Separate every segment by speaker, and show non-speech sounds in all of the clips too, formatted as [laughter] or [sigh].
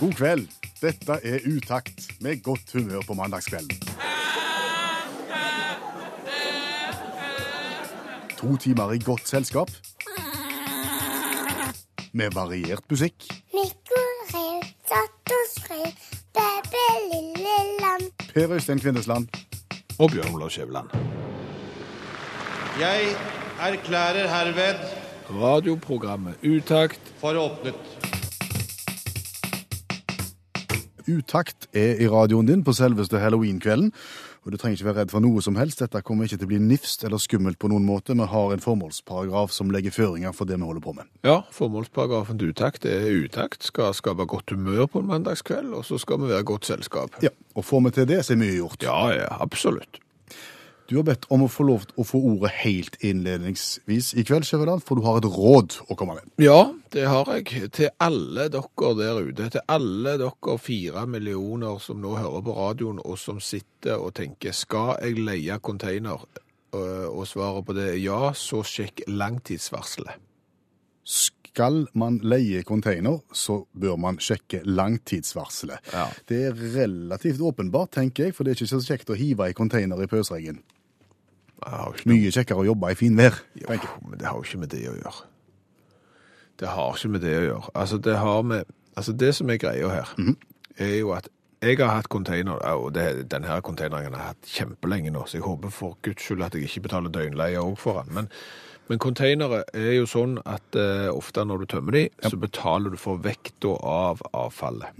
Speaker 1: God kveld. Dette er Utakt, med godt humør på mandagskvelden. To timer i godt selskap. Med variert musikk.
Speaker 2: Nicorel, satt og skrev, bæbæ, lille lam.
Speaker 1: Per Øystein Kvindesland.
Speaker 3: Og Bjørn Olav Skjæveland.
Speaker 4: Jeg erklærer herved
Speaker 3: Radioprogrammet Utakt
Speaker 4: for åpnet.
Speaker 1: Utakt er i radioen din på selveste halloweenkvelden. Og du trenger ikke være redd for noe som helst. Dette kommer ikke til å bli nifst eller skummelt på noen måte. Vi har en formålsparagraf som legger føringer for det vi holder på med.
Speaker 3: Ja, formålsparagrafen til utakt er utakt. Skal skape godt humør på en mandagskveld, og så skal vi være godt selskap.
Speaker 1: Ja, Og får vi til det, så er mye gjort.
Speaker 3: Ja, ja, absolutt.
Speaker 1: Du har bedt om å få lov til å få ordet helt innledningsvis i kveld, Skjæveland, for du har et råd å komme med.
Speaker 3: Ja, det har jeg. Til alle dere der ute, til alle dere fire millioner som nå hører på radioen, og som sitter og tenker skal jeg leie container, Øh, og svaret på det er ja, så sjekk langtidsvarselet.
Speaker 1: Skal man leie container, så bør man sjekke langtidsvarselet.
Speaker 3: Ja.
Speaker 1: Det er relativt åpenbart, tenker jeg, for det er ikke så kjekt å hive i container i pøsregn.
Speaker 3: Jeg har jo ikke noe
Speaker 1: Mye kjekkere å jobbe i finvær.
Speaker 3: Jo, men det har jo ikke med det å gjøre. Det har ikke med det å gjøre. Altså, det, har med, altså, det som er greia her, er jo at jeg har hatt container, og det, denne her containeren har jeg hatt kjempelenge nå, så jeg håper for guds skyld at jeg ikke betaler døgnleie òg for den. Men, men containere er jo sånn at eh, ofte når du tømmer de, så betaler du for vekta av avfallet.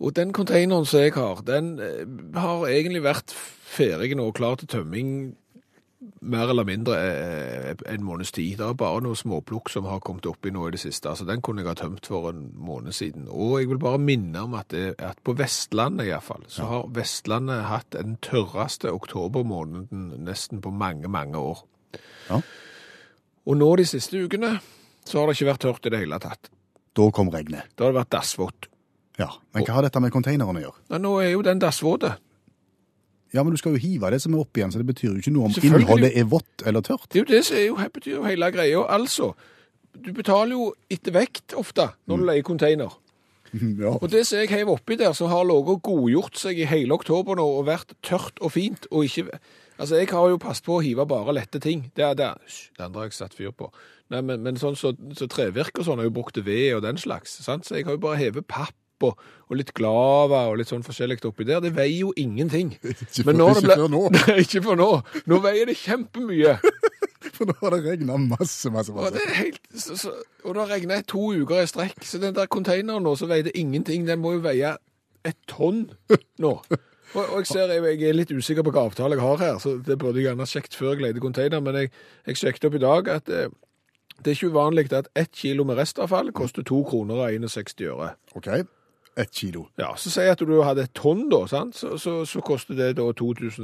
Speaker 3: Og den containeren som jeg har, den eh, har egentlig vært ferdig nå og klar til tømming mer eller mindre eh, en måneds tid. Det er bare noe småplukk som har kommet oppi nå i det siste. Altså, den kunne jeg ha tømt for en måned siden. Og jeg vil bare minne om at, det, at på Vestlandet iallfall, så har Vestlandet hatt den tørreste oktobermåneden nesten på mange, mange år.
Speaker 1: Ja.
Speaker 3: Og nå de siste ukene så har det ikke vært tørt i det hele tatt.
Speaker 1: Da kom regnet.
Speaker 3: Da har det vært dassvått.
Speaker 1: Ja, Men hva har dette med containeren å gjøre?
Speaker 3: Nei, nå er jo den dassvåte.
Speaker 1: Ja, men Du skal jo hive det som er oppi igjen, så det betyr jo ikke noe om
Speaker 3: Selvfølgelig.
Speaker 1: innholdet er vått eller
Speaker 3: [laughs]
Speaker 1: tørt.
Speaker 3: Det er jo det som er jo, her betyr jo hele greia. Altså, du betaler jo etter vekt ofte når du leier container.
Speaker 1: [laughs] Ja.
Speaker 3: Og det som jeg heiv oppi der, som har ligget og godgjort seg i hele oktober nå og vært tørt og fint og ikke Altså, jeg har jo passet på å hive bare lette ting. Det er det. Hysj, det andre har jeg satt fyr på. Nei, men, men sånn så, så trevirk og sånn har jo brukt ved og den slags. Sant? Så jeg har jo bare hevet papp og, og litt glava og litt sånn forskjellig oppi der. Det veier jo ingenting.
Speaker 1: [laughs] Ikke før-
Speaker 3: Men når det
Speaker 1: ikke
Speaker 3: ble-
Speaker 1: før nå.
Speaker 3: [laughs] Nei, ikke for nå. Nå veier det kjempemye.
Speaker 1: For nå har det regna masse, masse,
Speaker 3: Og det
Speaker 1: masse.
Speaker 3: er helt, så, så, og det har regnet i to uker i strekk, så den der containeren nå, så veide ingenting, den må jo veie et tonn nå. Og, og jeg ser, jeg, jeg er litt usikker på hva avtale jeg har her, så det burde jeg gjerne ha sjekt før jeg leide container, men jeg, jeg sjekket opp i dag at eh, det er ikke uvanlig at ett kilo med restavfall koster to kroner og 61 øre.
Speaker 1: OK, ett kilo.
Speaker 3: Ja, så sier jeg at du hadde et tonn da, sant? Så, så, så koster det da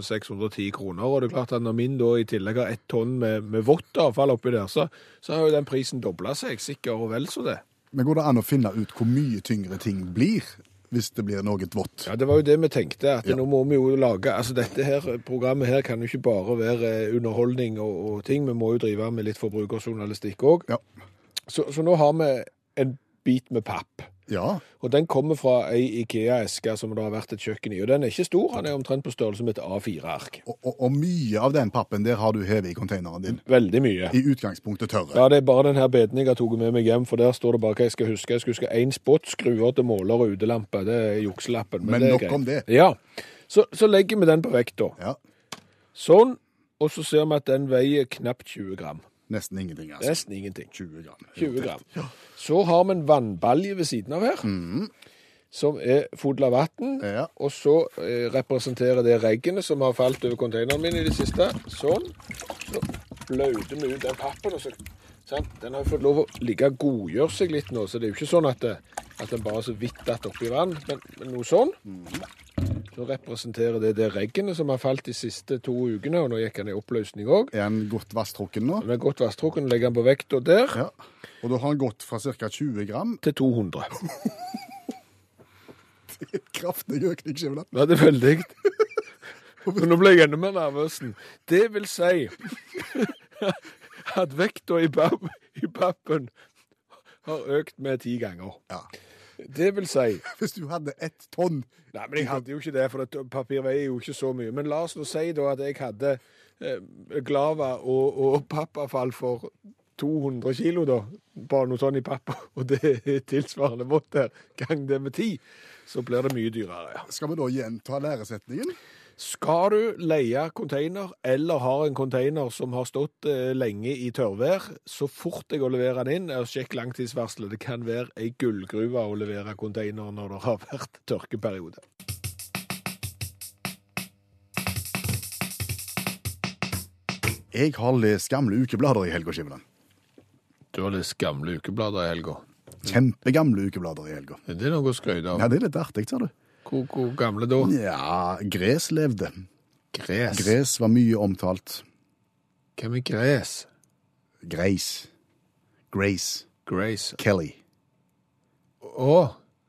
Speaker 3: 2610 kroner, og det er klart at når min da i tillegg har et tonn med, med vått avfall oppi der, så, så har jo den prisen doblet seg, sikkert og vel så det.
Speaker 1: Men går det an å finne ut hvor mye tyngre ting blir hvis det blir noe vått?
Speaker 3: Ja, det var jo det vi tenkte, at
Speaker 1: Ja.
Speaker 3: nå må vi jo lage, altså dette her programmet her kan jo ikke bare være eh, underholdning og, og ting, vi må jo drive med litt forbrukersjournalistikk også.
Speaker 1: Ja.
Speaker 3: Så, så nå har vi en bit med papp.
Speaker 1: Ja,
Speaker 3: Og den kommer fra ei IKEA-eske som det har vært et kjøkken i, og den er ikke stor, han er omtrent på størrelse med et A4-ark.
Speaker 1: og, og, og mye av den pappen der har du hevet i containeren din.
Speaker 3: Veldig mye.
Speaker 1: I utgangspunktet tørre.
Speaker 3: Ja, det er bare den her beten jeg har tatt med meg hjem, for der står det bare hva jeg skal huske. Jeg skal huske én spott, skruer til måler og utelampe. Det er jukselappen.
Speaker 1: Men
Speaker 3: det er
Speaker 1: nok om det.
Speaker 3: Ja. Så, så legger vi den på vekta.
Speaker 1: Ja,
Speaker 3: Sånn. Og så ser vi at den veier knapt 20 gram.
Speaker 1: Nesten ingenting, altså.
Speaker 3: Nesten ingenting.
Speaker 1: 20 gram.
Speaker 3: 20 gram. Så har vi en vannbalje ved siden av her, som er full av vann.
Speaker 1: Mm. Ja.
Speaker 3: Og så eh, representerer det reggene som har falt over containeren min i det siste. Sånn. Så bløter vi ut den pappen. og så... Sant? Den har jo fått lov å ligge og godgjøre seg litt nå, så det er jo ikke sånn at, det, at den bare er så vidt datt oppi vann, men, men noe sånn.
Speaker 1: Mm.
Speaker 3: Så representerer det det reggene som har falt de siste to ukene, og nå gikk den i oppløsning òg.
Speaker 1: Er den godt vasstrukken nå?
Speaker 3: Den er godt vasstrukken, legger den på vekta der.
Speaker 1: Ja. Og da har den gått fra ca. 20 gram
Speaker 3: til 200.
Speaker 1: Kraftig økning, Skjæveland.
Speaker 3: Ja, det er veldig. Og nå ble jeg enda mer nervøsen. Det vil si at vekta i, pap, i pappen har økt med ti ganger.
Speaker 1: Ja.
Speaker 3: Det vil si
Speaker 1: Hvis du hadde ett tonn
Speaker 3: Nei, men jeg hadde jo ikke det, for det, papir veier jo ikke så mye. Men la oss nå si da at jeg hadde eh, glava og, og pappavfall for 200 kilo, da. Bare noe sånn i pappa, og det er tilsvarende vått der. Gang det med ti, så blir det mye dyrere. ja.
Speaker 1: Skal vi da gjenta læresetningen?
Speaker 3: Skal du leie container, eller har en container som har stått eh, lenge i tørrvær, så fort jeg å levere den inn, eh, sjekk langtidsvarselet. Det kan være ei gullgruve å levere container når det har vært tørkeperiode.
Speaker 1: Jeg har lest gamle ukeblader i helga, Skiveland.
Speaker 3: Du har lest gamle ukeblader i helga.
Speaker 1: Kjempegamle ukeblader i helga.
Speaker 3: Er det noe å skryte av?
Speaker 1: Ja, det er litt artig, sa du.
Speaker 3: Hvor, hvor gamle da?
Speaker 1: Ja, Gres levde.
Speaker 3: Gres.
Speaker 1: Gres var mye omtalt.
Speaker 3: Hvem er Gres?
Speaker 1: Grace. Grace.
Speaker 3: Grace.
Speaker 1: Kelly.
Speaker 3: Å,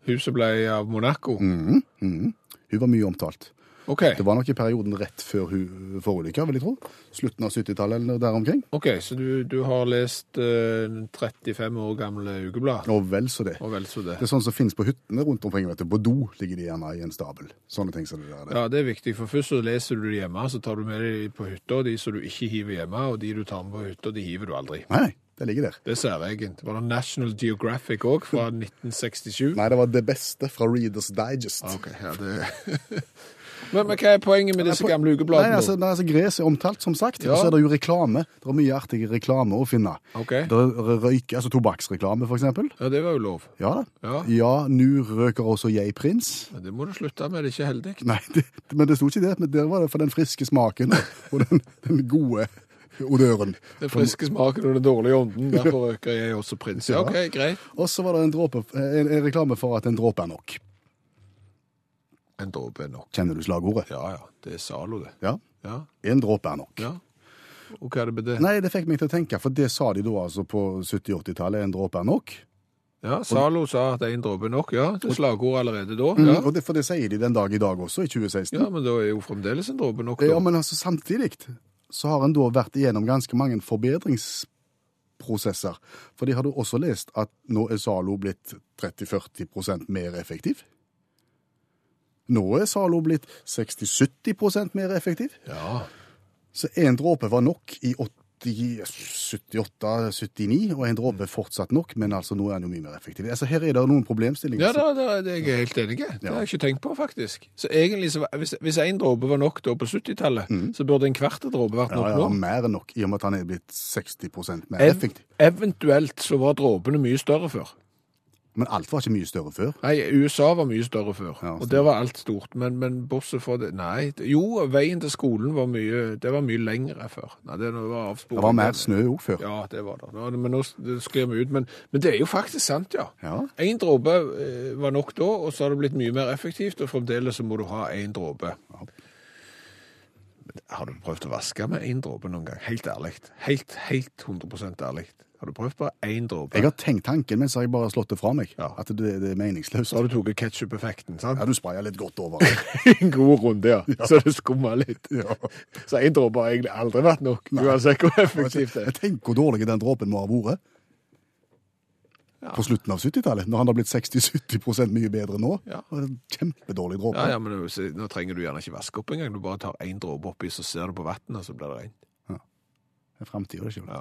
Speaker 3: huset ble av Monaco.
Speaker 1: Hun var mye omtalt.
Speaker 3: Ok,
Speaker 1: Det var nok i perioden rett før hun forulykka, vil jeg tro. Slutten av 70-tallet eller der omkring.
Speaker 3: ok, så du, du har lest eh, 35 år gamle ukeblad.
Speaker 1: Og vel så det.
Speaker 3: Og vel så det.
Speaker 1: Det er sånn som finnes på hyttene rundt omkring. vet du. På do ligger de gjerne i en stabel. Sånne ting som det der. det.
Speaker 3: Ja, det er viktig, for først så leser du det hjemme, så tar du med det på hytta, og de som du ikke hiver hjemme, og de du tar med på hytta, de hiver du aldri.
Speaker 1: Nei, det ligger der.
Speaker 3: Det er særegent. Var det National Geographic også, fra 1967?
Speaker 1: Nei, det var det beste fra Readers Digest.
Speaker 3: Ah, Ok, ja, det... [laughs] men, men hva er poenget med disse gamle ukebladene?
Speaker 1: Nei,
Speaker 3: nå?
Speaker 1: altså, nei, altså Gres er omtalt, som sagt.
Speaker 3: Ja.
Speaker 1: Og så er det jo reklame. Det er mye artig reklame å finne.
Speaker 3: Ok.
Speaker 1: Det er røyke, altså tobakksreklame, for eksempel.
Speaker 3: Ja, det var jo lov.
Speaker 1: Ja da.
Speaker 3: Ja.
Speaker 1: nu røker også jeg prins.
Speaker 3: Men det må du slutte med, det er ikke heldig.
Speaker 1: Nei, det, men det sto ikke det. Men der var det for den friske smaken og den, den gode odøren.
Speaker 3: Den friske smaken og den dårlige
Speaker 1: [laughs]
Speaker 3: ånden, derfor røker jeg også prins. Ja, ok, greit.
Speaker 1: Og så var det en, dråpe, en, en reklame for at en dråpe er nok.
Speaker 3: En dråpe er nok.
Speaker 1: Kjenner du slagordet?
Speaker 3: Ja, ja, det er Zalo det.
Speaker 1: Ja.
Speaker 3: Ja,
Speaker 1: En dråpe er nok.
Speaker 3: ja. Og hva er det med det?
Speaker 1: Nei, det fikk meg til å tenke, for det sa de da altså på 70-80-tallet. En dråpe er nok.
Speaker 3: Ja, Zalo sa at en dråpe er nok, ja. Det er slagord allerede da.
Speaker 1: Mm,
Speaker 3: Ja.
Speaker 1: Og det, for det sier de den dag i dag også, i 2016.
Speaker 3: ja, men da er jo fremdeles en dråpe nok.
Speaker 1: Mm. Ja,
Speaker 3: Da.
Speaker 1: men altså samtidig så har en da vært igjennom ganske mange forbedringsprosesser. For de har du også lest at nå er Zalo blitt 30-40 mer effektiv. Nå er Zalo blitt 60-70 mer effektiv.
Speaker 3: Ja,
Speaker 1: Så en dråpe var nok i 78-79, og en dråpe er fortsatt nok, men altså nå er den jo mye mer effektiv. Altså her er det noen problemstillinger.
Speaker 3: ja da, da, det er jeg helt enig i. Det har jeg ikke tenkt på, faktisk. Så egentlig, så, var- hvis, hvis en dråpe var nok da på 70-tallet, så burde en kvarte dråpe vært nok
Speaker 1: Mm. ja, ja,
Speaker 3: nå.
Speaker 1: mer enn nok, i og med at han er blitt 60 mer
Speaker 3: Ev
Speaker 1: effektiv.
Speaker 3: eventuelt så var dråpene mye større før.
Speaker 1: Men alt var ikke mye større før.
Speaker 3: Nei, USA var mye større før,
Speaker 1: Ja,
Speaker 3: og der var alt stort, men, men bortsett fra det Nei, det- jo, veien til skolen var mye, det var mye lengre før. Nei, det var avsporing.
Speaker 1: Det var mer snø òg før.
Speaker 3: Ja, det var det. Nå, men nå sklir vi ut. Men, men det er jo faktisk sant, ja.
Speaker 1: Ja.
Speaker 3: Én dråpe eh, var nok da, og så har det blitt mye mer effektivt, og fremdeles så må du ha én dråpe. Men Har du prøvd å vaske med én dråpe noen gang? Helt ærlig. Helt, helt 100 ærlig. Har du prøvd bare én dråpe?
Speaker 1: Jeg har tenkt tanken, men så har jeg bare slått det fra meg.
Speaker 3: Ja.
Speaker 1: At det, det er meningsløst.
Speaker 3: Så har du tatt ketsjup-effekten, sant?
Speaker 1: Ja, du sprayer litt godt
Speaker 3: [laughs]
Speaker 1: over. det.
Speaker 3: en god runde, ja. Så det skummer litt. Så én dråpe har egentlig aldri vært nok, uansett hvor effektivt det er.
Speaker 1: Jeg tenker hvor dårlig den dråpen må ha vært. På slutten av 70-tallet, når han har blitt 60-70 mye bedre nå.
Speaker 3: Ja.
Speaker 1: var det en Kjempedårlig dråpe.
Speaker 3: Ja, ja, men nå- se, Nå trenger du gjerne ikke vaske opp engang. Du bare tar én dråpe oppi, så ser du på vannet, og så blir det rent.
Speaker 1: Det er fremtiden, det er ikke det.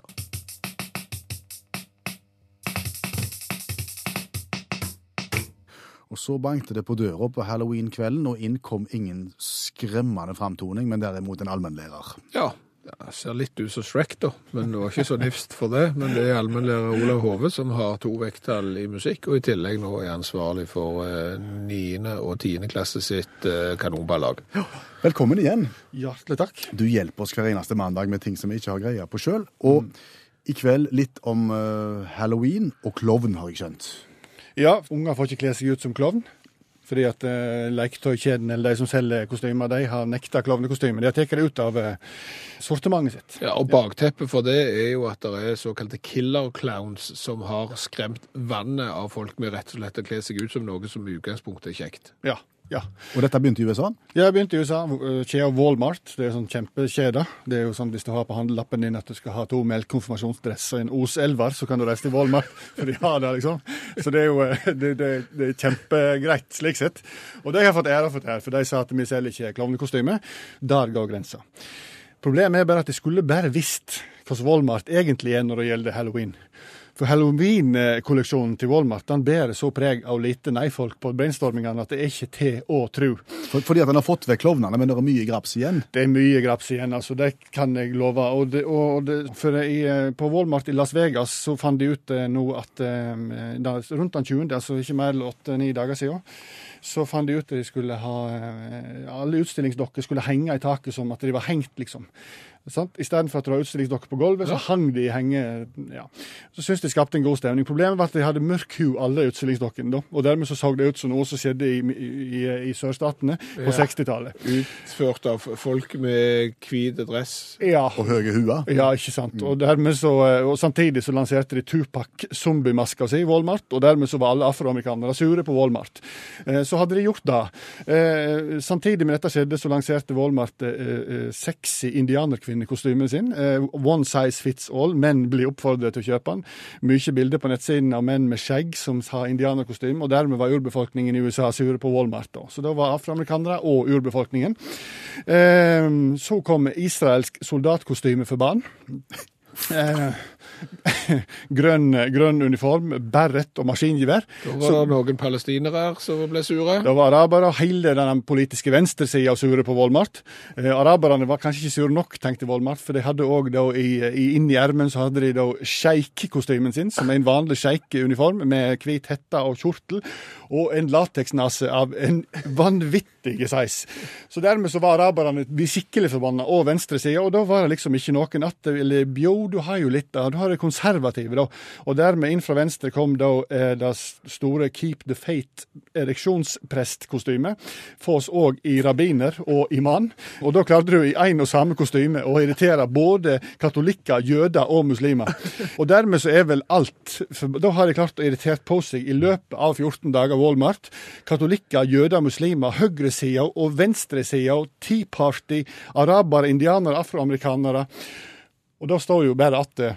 Speaker 1: Og så bankte det på døra på halloween-kvelden, og inn kom ingen skremmende framtoning, men derimot en allmennlærer.
Speaker 3: Ja. ja ser litt ut som Shrek, da, men det var ikke så nifst for det. Men det er allmennlærer Olav Hove som har to vekttall i musikk, og i tillegg nå er ansvarlig for eh, niende- og tiendeklasse sitt eh, kanonballag.
Speaker 1: Velkommen igjen.
Speaker 3: Hjertelig takk.
Speaker 1: Du hjelper oss hver eneste mandag med ting som vi ikke har greie på sjøl. Og
Speaker 3: Mm.
Speaker 1: i kveld litt om eh, halloween og klovn, har jeg skjønt.
Speaker 5: Ja, unger får ikke kle seg ut som klovn. Fordi at uh, leketøykjeden eller de som selger kostymer, de har nekta klovnekostymer. De har tatt det ut av eh, sortimentet sitt.
Speaker 3: Ja, og Bakteppet for det er jo at det er såkalte killer clowns som har skremt vannet av folk med rett og slett å kle seg ut som noe som i utgangspunktet er kjekt.
Speaker 5: Ja. Ja.
Speaker 1: Og dette begynte i USA?
Speaker 5: Jeg begynte i USA. eh, Kjeda Walmart, det er sånn kjempekjede. Det er jo sånn hvis du har på handlelappen din at du skal ha to melkekonfirmasjonsdresser og en Os Elvar, så kan du reise til Walmart, [laughs] for de har det, liksom. Så det er jo eh, det, det, det er kjempegreit, slik sett. Og de har fått æra for det her, for de sa at vi selger ikke klovnekostyme. Der går grensa. Problemet er bare at jeg skulle bare visst hvordan Walmart egentlig er når det gjelder halloween. For halloween-kolleksjonen til Walmart den bærer så preg av lite nei-folk på brainstormingene at det er ikke til å tro.
Speaker 1: For, fordi at en har fått vekk klovnene, men det er mye graps igjen.
Speaker 5: Det er mye graps igjen, altså. Det kan jeg love. Og det, og det, for i, eh, på Walmart i Las Vegas så fant de ut eh, nå at eh, da, rundt den 20., altså ikke mer enn åtte-ni dager siden, så fant de ut at de skulle ha eh, Alle utstillingsdokker skulle henge i taket som at de var hengt, liksom. Sant? I stedet for at det var utstillingsdokker på gulvet, så hang de i henge... Ja. Så syntes de skapte en god stemning. Problemet var at de hadde mørk hu, alle utstillingsdokkene. da. Og dermed så så det ut som noe som skjedde i, i, i, i sørstatene på
Speaker 3: Ja.
Speaker 5: 60-tallet.
Speaker 3: Utført av folk med hvit dress.
Speaker 5: Ja.
Speaker 1: Og høye huer.
Speaker 5: Ja, ikke sant. Og, dermed så, eh, og samtidig så lanserte de Tupac-zombiemaska si i Walmart, og dermed så var alle afroamerikanere sure på Walmart. Eh, Så hadde de gjort det. Eh, Samtidig med dette skjedde, så lanserte Walmart eh, eh, sexy indianerkvinnekostymen sin. eh, One size fits all. Menn blir oppfordret til å kjøpe den. Mye bilder på nettsiden av menn med skjegg som har indianerkostyme, og dermed var urbefolkningen i USA sure på Walmart. da. Så da var afroamerikanere og urbefolkningen. Eh, Så kom israelsk soldatkostyme for barn. [laughs] Eh, [laughs] grønn, grønn uniform, beret og maskingevær.
Speaker 3: Da var det noen palestinere her som ble sure.
Speaker 5: Det var arabere og hele den politiske venstresida sure på Walmart. Eh, araberne var kanskje ikke sure nok, tenkte Walmart, for de hadde òg da i, i, inn i ermen så hadde de da sjeikkostymen sin, som er en vanlig sjeikuniform med hvit hette og kjortel, og en lateksnase av en vanvittig size. Så dermed så var araberne de skikkelig forbanna, og venstresida, og da var det liksom ikke noen at eller Jo, du har jo litt da, du har det konservative, da. Og dermed inn fra venstre kom da eh, det store Keep the Fate ereksjonsprestkostymet. Få oss òg i rabbiner og imam. Og da klarte du i én og samme kostyme å irritere både katolikker, jøder og muslimer. Og dermed så er vel alt for Da har de klart å irritere på seg i løpet av 14 dager Walmart. Katolikker, jøder, muslimer, høyresida og venstresida, Tea Party, arabere, indianere, afroamerikanere. Og da står jo bare at eh,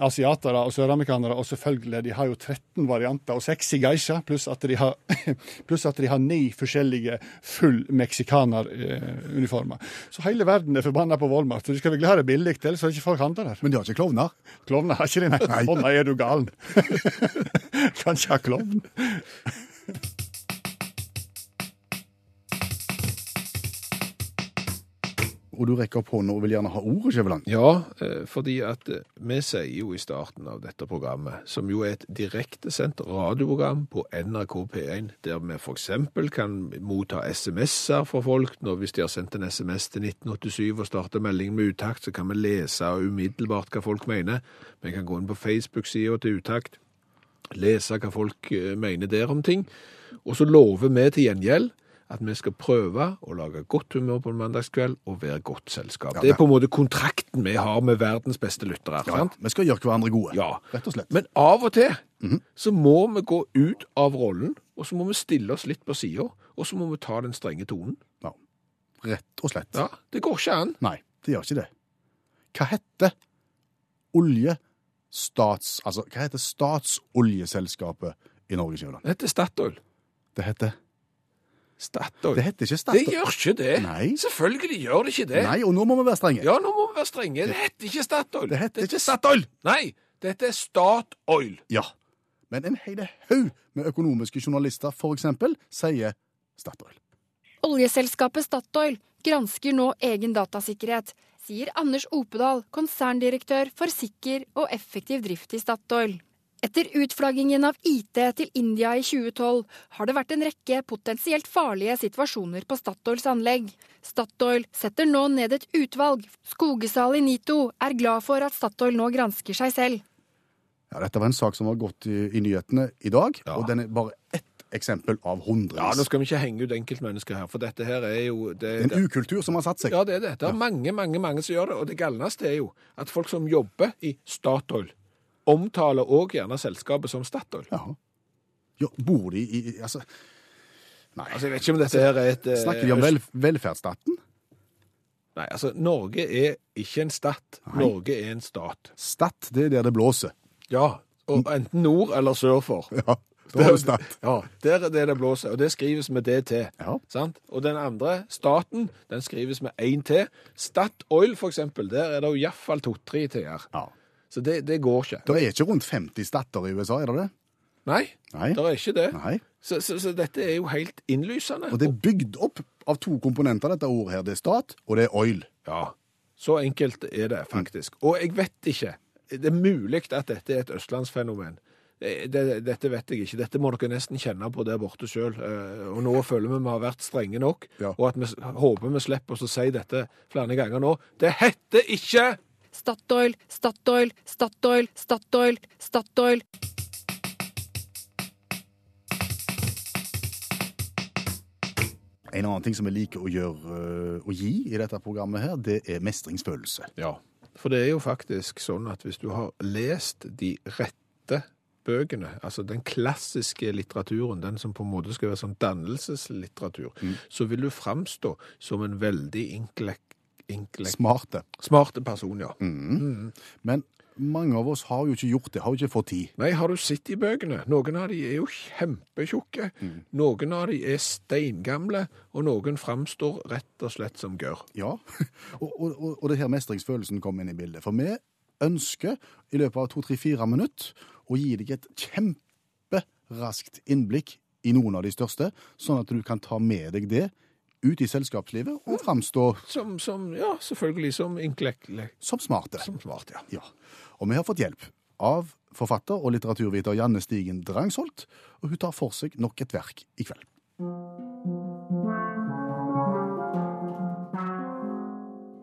Speaker 5: asiatere og søramerikanere, og selvfølgelig, de har jo 13 varianter og 6 i geisha, pluss at de har, [laughs] pluss at de har ni forskjellige full meksikaneruniformer. Så hele verden er forbanna på Walmart. Så du skal vel ha det billig til, så ikke folk handler der.
Speaker 1: Men de har ikke klovner.
Speaker 5: Klovner har ikke det, nei. Å nei, er du galen? [laughs] kan ikke ha klovn.
Speaker 1: Og du rekker opp hånda og vil gjerne ha ordet, Skjæveland.
Speaker 3: Ja, eh, fordi at eh, vi sier jo i starten av dette programmet, som jo er et direktesendt radioprogram på NRK P1, der vi for eksempel kan motta SMS-er fra folk, når hvis de har sendt en SMS til 1987 og starter melding med utakt, så kan vi lese umiddelbart hva folk mener. Vi kan gå inn på Facebook-sida til utakt, lese hva folk eh, mener der om ting, og så lover vi til gjengjeld at vi skal prøve å lage godt humør på en mandagskveld og være godt selskap.
Speaker 1: Ja,
Speaker 3: det
Speaker 1: ja.
Speaker 3: er på en måte kontrakten vi har med verdens beste lyttere. Ja. Sant?
Speaker 1: Vi skal gjøre hverandre gode.
Speaker 3: Ja.
Speaker 1: Rett og slett. Mhm.
Speaker 3: Men av og til så må vi gå ut av rollen, og så må vi stille oss litt på sida, og så må vi ta den strenge tonen.
Speaker 1: Ja. Rett og slett.
Speaker 3: Ja, Det går ikke an.
Speaker 1: Nei, det gjør ikke det. Hva heter olje... Stats... Altså, hva heter statsoljeselskapet i Norge, Skjæveland?
Speaker 3: Det heter Statoil.
Speaker 1: Det heter
Speaker 3: Statoil.
Speaker 1: Det heter ikke
Speaker 3: Det
Speaker 1: Statoil.
Speaker 3: gjør ikke det.
Speaker 1: Nei.
Speaker 3: Selvfølgelig gjør det ikke det.
Speaker 1: Nei, og nå må vi være strenge.
Speaker 3: Ja, nå må vi være strenge. Det heter ikke Statoil.
Speaker 1: Det heter ikke
Speaker 3: Statoil. Nei, dette er Statoil.
Speaker 1: Ja. Men en hel haug med økonomiske journalister, for eksempel, sier Statoil.
Speaker 6: Oljeselskapet Statoil gransker nå egen datasikkerhet, sier Anders Opedal, konserndirektør for sikker og effektiv drift i Statoil. Etter utflaggingen av IT til India i 2012 har det vært en rekke potensielt farlige situasjoner på Statoils anlegg. Statoil setter nå ned et utvalg. Skogesal i Nito er glad for at Statoil nå gransker seg selv.
Speaker 1: Ja, dette var en sak som har gått i, i nyhetene i dag,
Speaker 3: Ja.
Speaker 1: og den er bare ett eksempel av
Speaker 3: Ja, nå
Speaker 1: hundrevis.
Speaker 3: skal vi ikke henge ut enkeltmennesker her, for dette her er jo det,
Speaker 1: Det er
Speaker 3: det,
Speaker 1: en ukultur som har satt seg.
Speaker 3: Ja, det er det. Det er mange, mange mange som gjør det. Og det galneste er jo at folk som jobber i Statoil, omtaler òg gjerne selskapet som Statoil.
Speaker 1: Ja. Ja, bor de i i- altså, Nei.
Speaker 3: Altså, Jeg vet ikke om dette her er et eh,
Speaker 1: Snakker de om vel, velferdsstaten?
Speaker 3: Nei, altså, Norge er ikke en stat. Norge er en stat.
Speaker 1: Stat, det er der det blåser. [laughs]
Speaker 3: Ja. Og enten nord eller sør for.
Speaker 1: Ja, det er jo stat.
Speaker 3: Ja, der er det det blåser, og det skrives med DT.
Speaker 1: Ja.
Speaker 3: Sant? Og den andre, staten, den skrives med én T. Statoil, for eksempel, der er det jo iallfall to-tre T-er.
Speaker 1: Ja.
Speaker 3: Så det, det går ikke.
Speaker 1: Det er ikke rundt 50 stater i USA, er det det?
Speaker 3: Nei,
Speaker 1: Nei.
Speaker 3: det er ikke det.
Speaker 1: Nei.
Speaker 3: Så, så, så dette er jo helt innlysende.
Speaker 1: Og det er bygd opp av to komponenter, dette ordet her. Det er stat, og det er oil.
Speaker 3: Ja, så enkelt er det faktisk. Og jeg vet ikke. Det er mulig at dette er et østlandsfenomen. Det, det- dette vet jeg ikke. Dette må dere nesten kjenne på der borte sjøl. Og nå føler vi vi har vært strenge nok,
Speaker 1: Ja.
Speaker 3: og at vi s- håper vi slipper oss å si dette flere ganger nå. Det heter ikke
Speaker 6: Statoil, Statoil, Statoil, Statoil, Statoil.
Speaker 1: En annen ting som vi liker å gjøre øh, å gi i dette programmet her, det er mestringsfølelse.
Speaker 3: Ja. For det er jo faktisk sånn at hvis du har lest de rette bøkene, altså den klassiske litteraturen, den som på en måte skal være sånn dannelseslitteratur, så vil du framstå som en veldig inklek... inklek
Speaker 1: Smarte.
Speaker 3: smarte person, ja.
Speaker 1: Men mange av oss har jo ikke gjort det, har jo ikke fått tid.
Speaker 3: Nei, har du sett de bøkene? Noen av de er jo kjempetjukke, noen av de er steingamle, og noen framstår rett og slett som gørr.
Speaker 1: Ja, [laughs] og, og, og, og det her mestringsfølelsen kom inn i bildet. For vi ønsker i løpet av to, tre, fire minutter å gi deg et kjemperaskt innblikk i noen av de største, sånn at du kan ta med deg det ut i selskapslivet og framstå
Speaker 3: Som, som, ja, selvfølgelig som inklek...
Speaker 1: som smarte.
Speaker 3: Som smart, ja.
Speaker 1: Ja, og vi har fått hjelp av forfatter og litteraturviter Janne Stigen Drangsholt, og hun tar for seg nok et verk i kveld.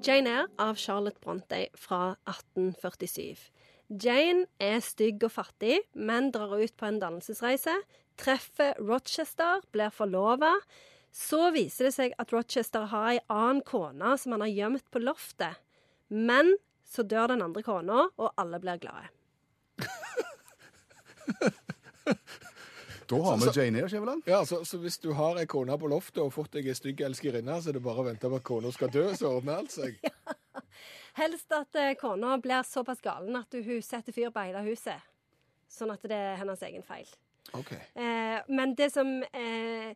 Speaker 7: Jane Eyre av Charlotte Brontë fra 1847. Jane er stygg og fattig, men drar ut på en dannelsesreise. Treffer Rochester, blir forlova. Så viser det seg at Rochester har ei annen kone som han har gjemt på loftet. Men så dør den andre kona, og alle blir glade.
Speaker 1: Da har vi Jane Eyre, Skjæveland.
Speaker 8: Ja, så, så hvis du har ei kone på loftet og fått deg ei stygg elskerinne, så er det bare å vente på at kona skal dø, så ordner alt
Speaker 7: [laughs]
Speaker 8: seg.
Speaker 7: Helst at eh, kona blir såpass galen at hun setter fyr på hele huset. Sånn at det er hennes egen feil.
Speaker 8: Ok.
Speaker 7: Eh, men det som eh,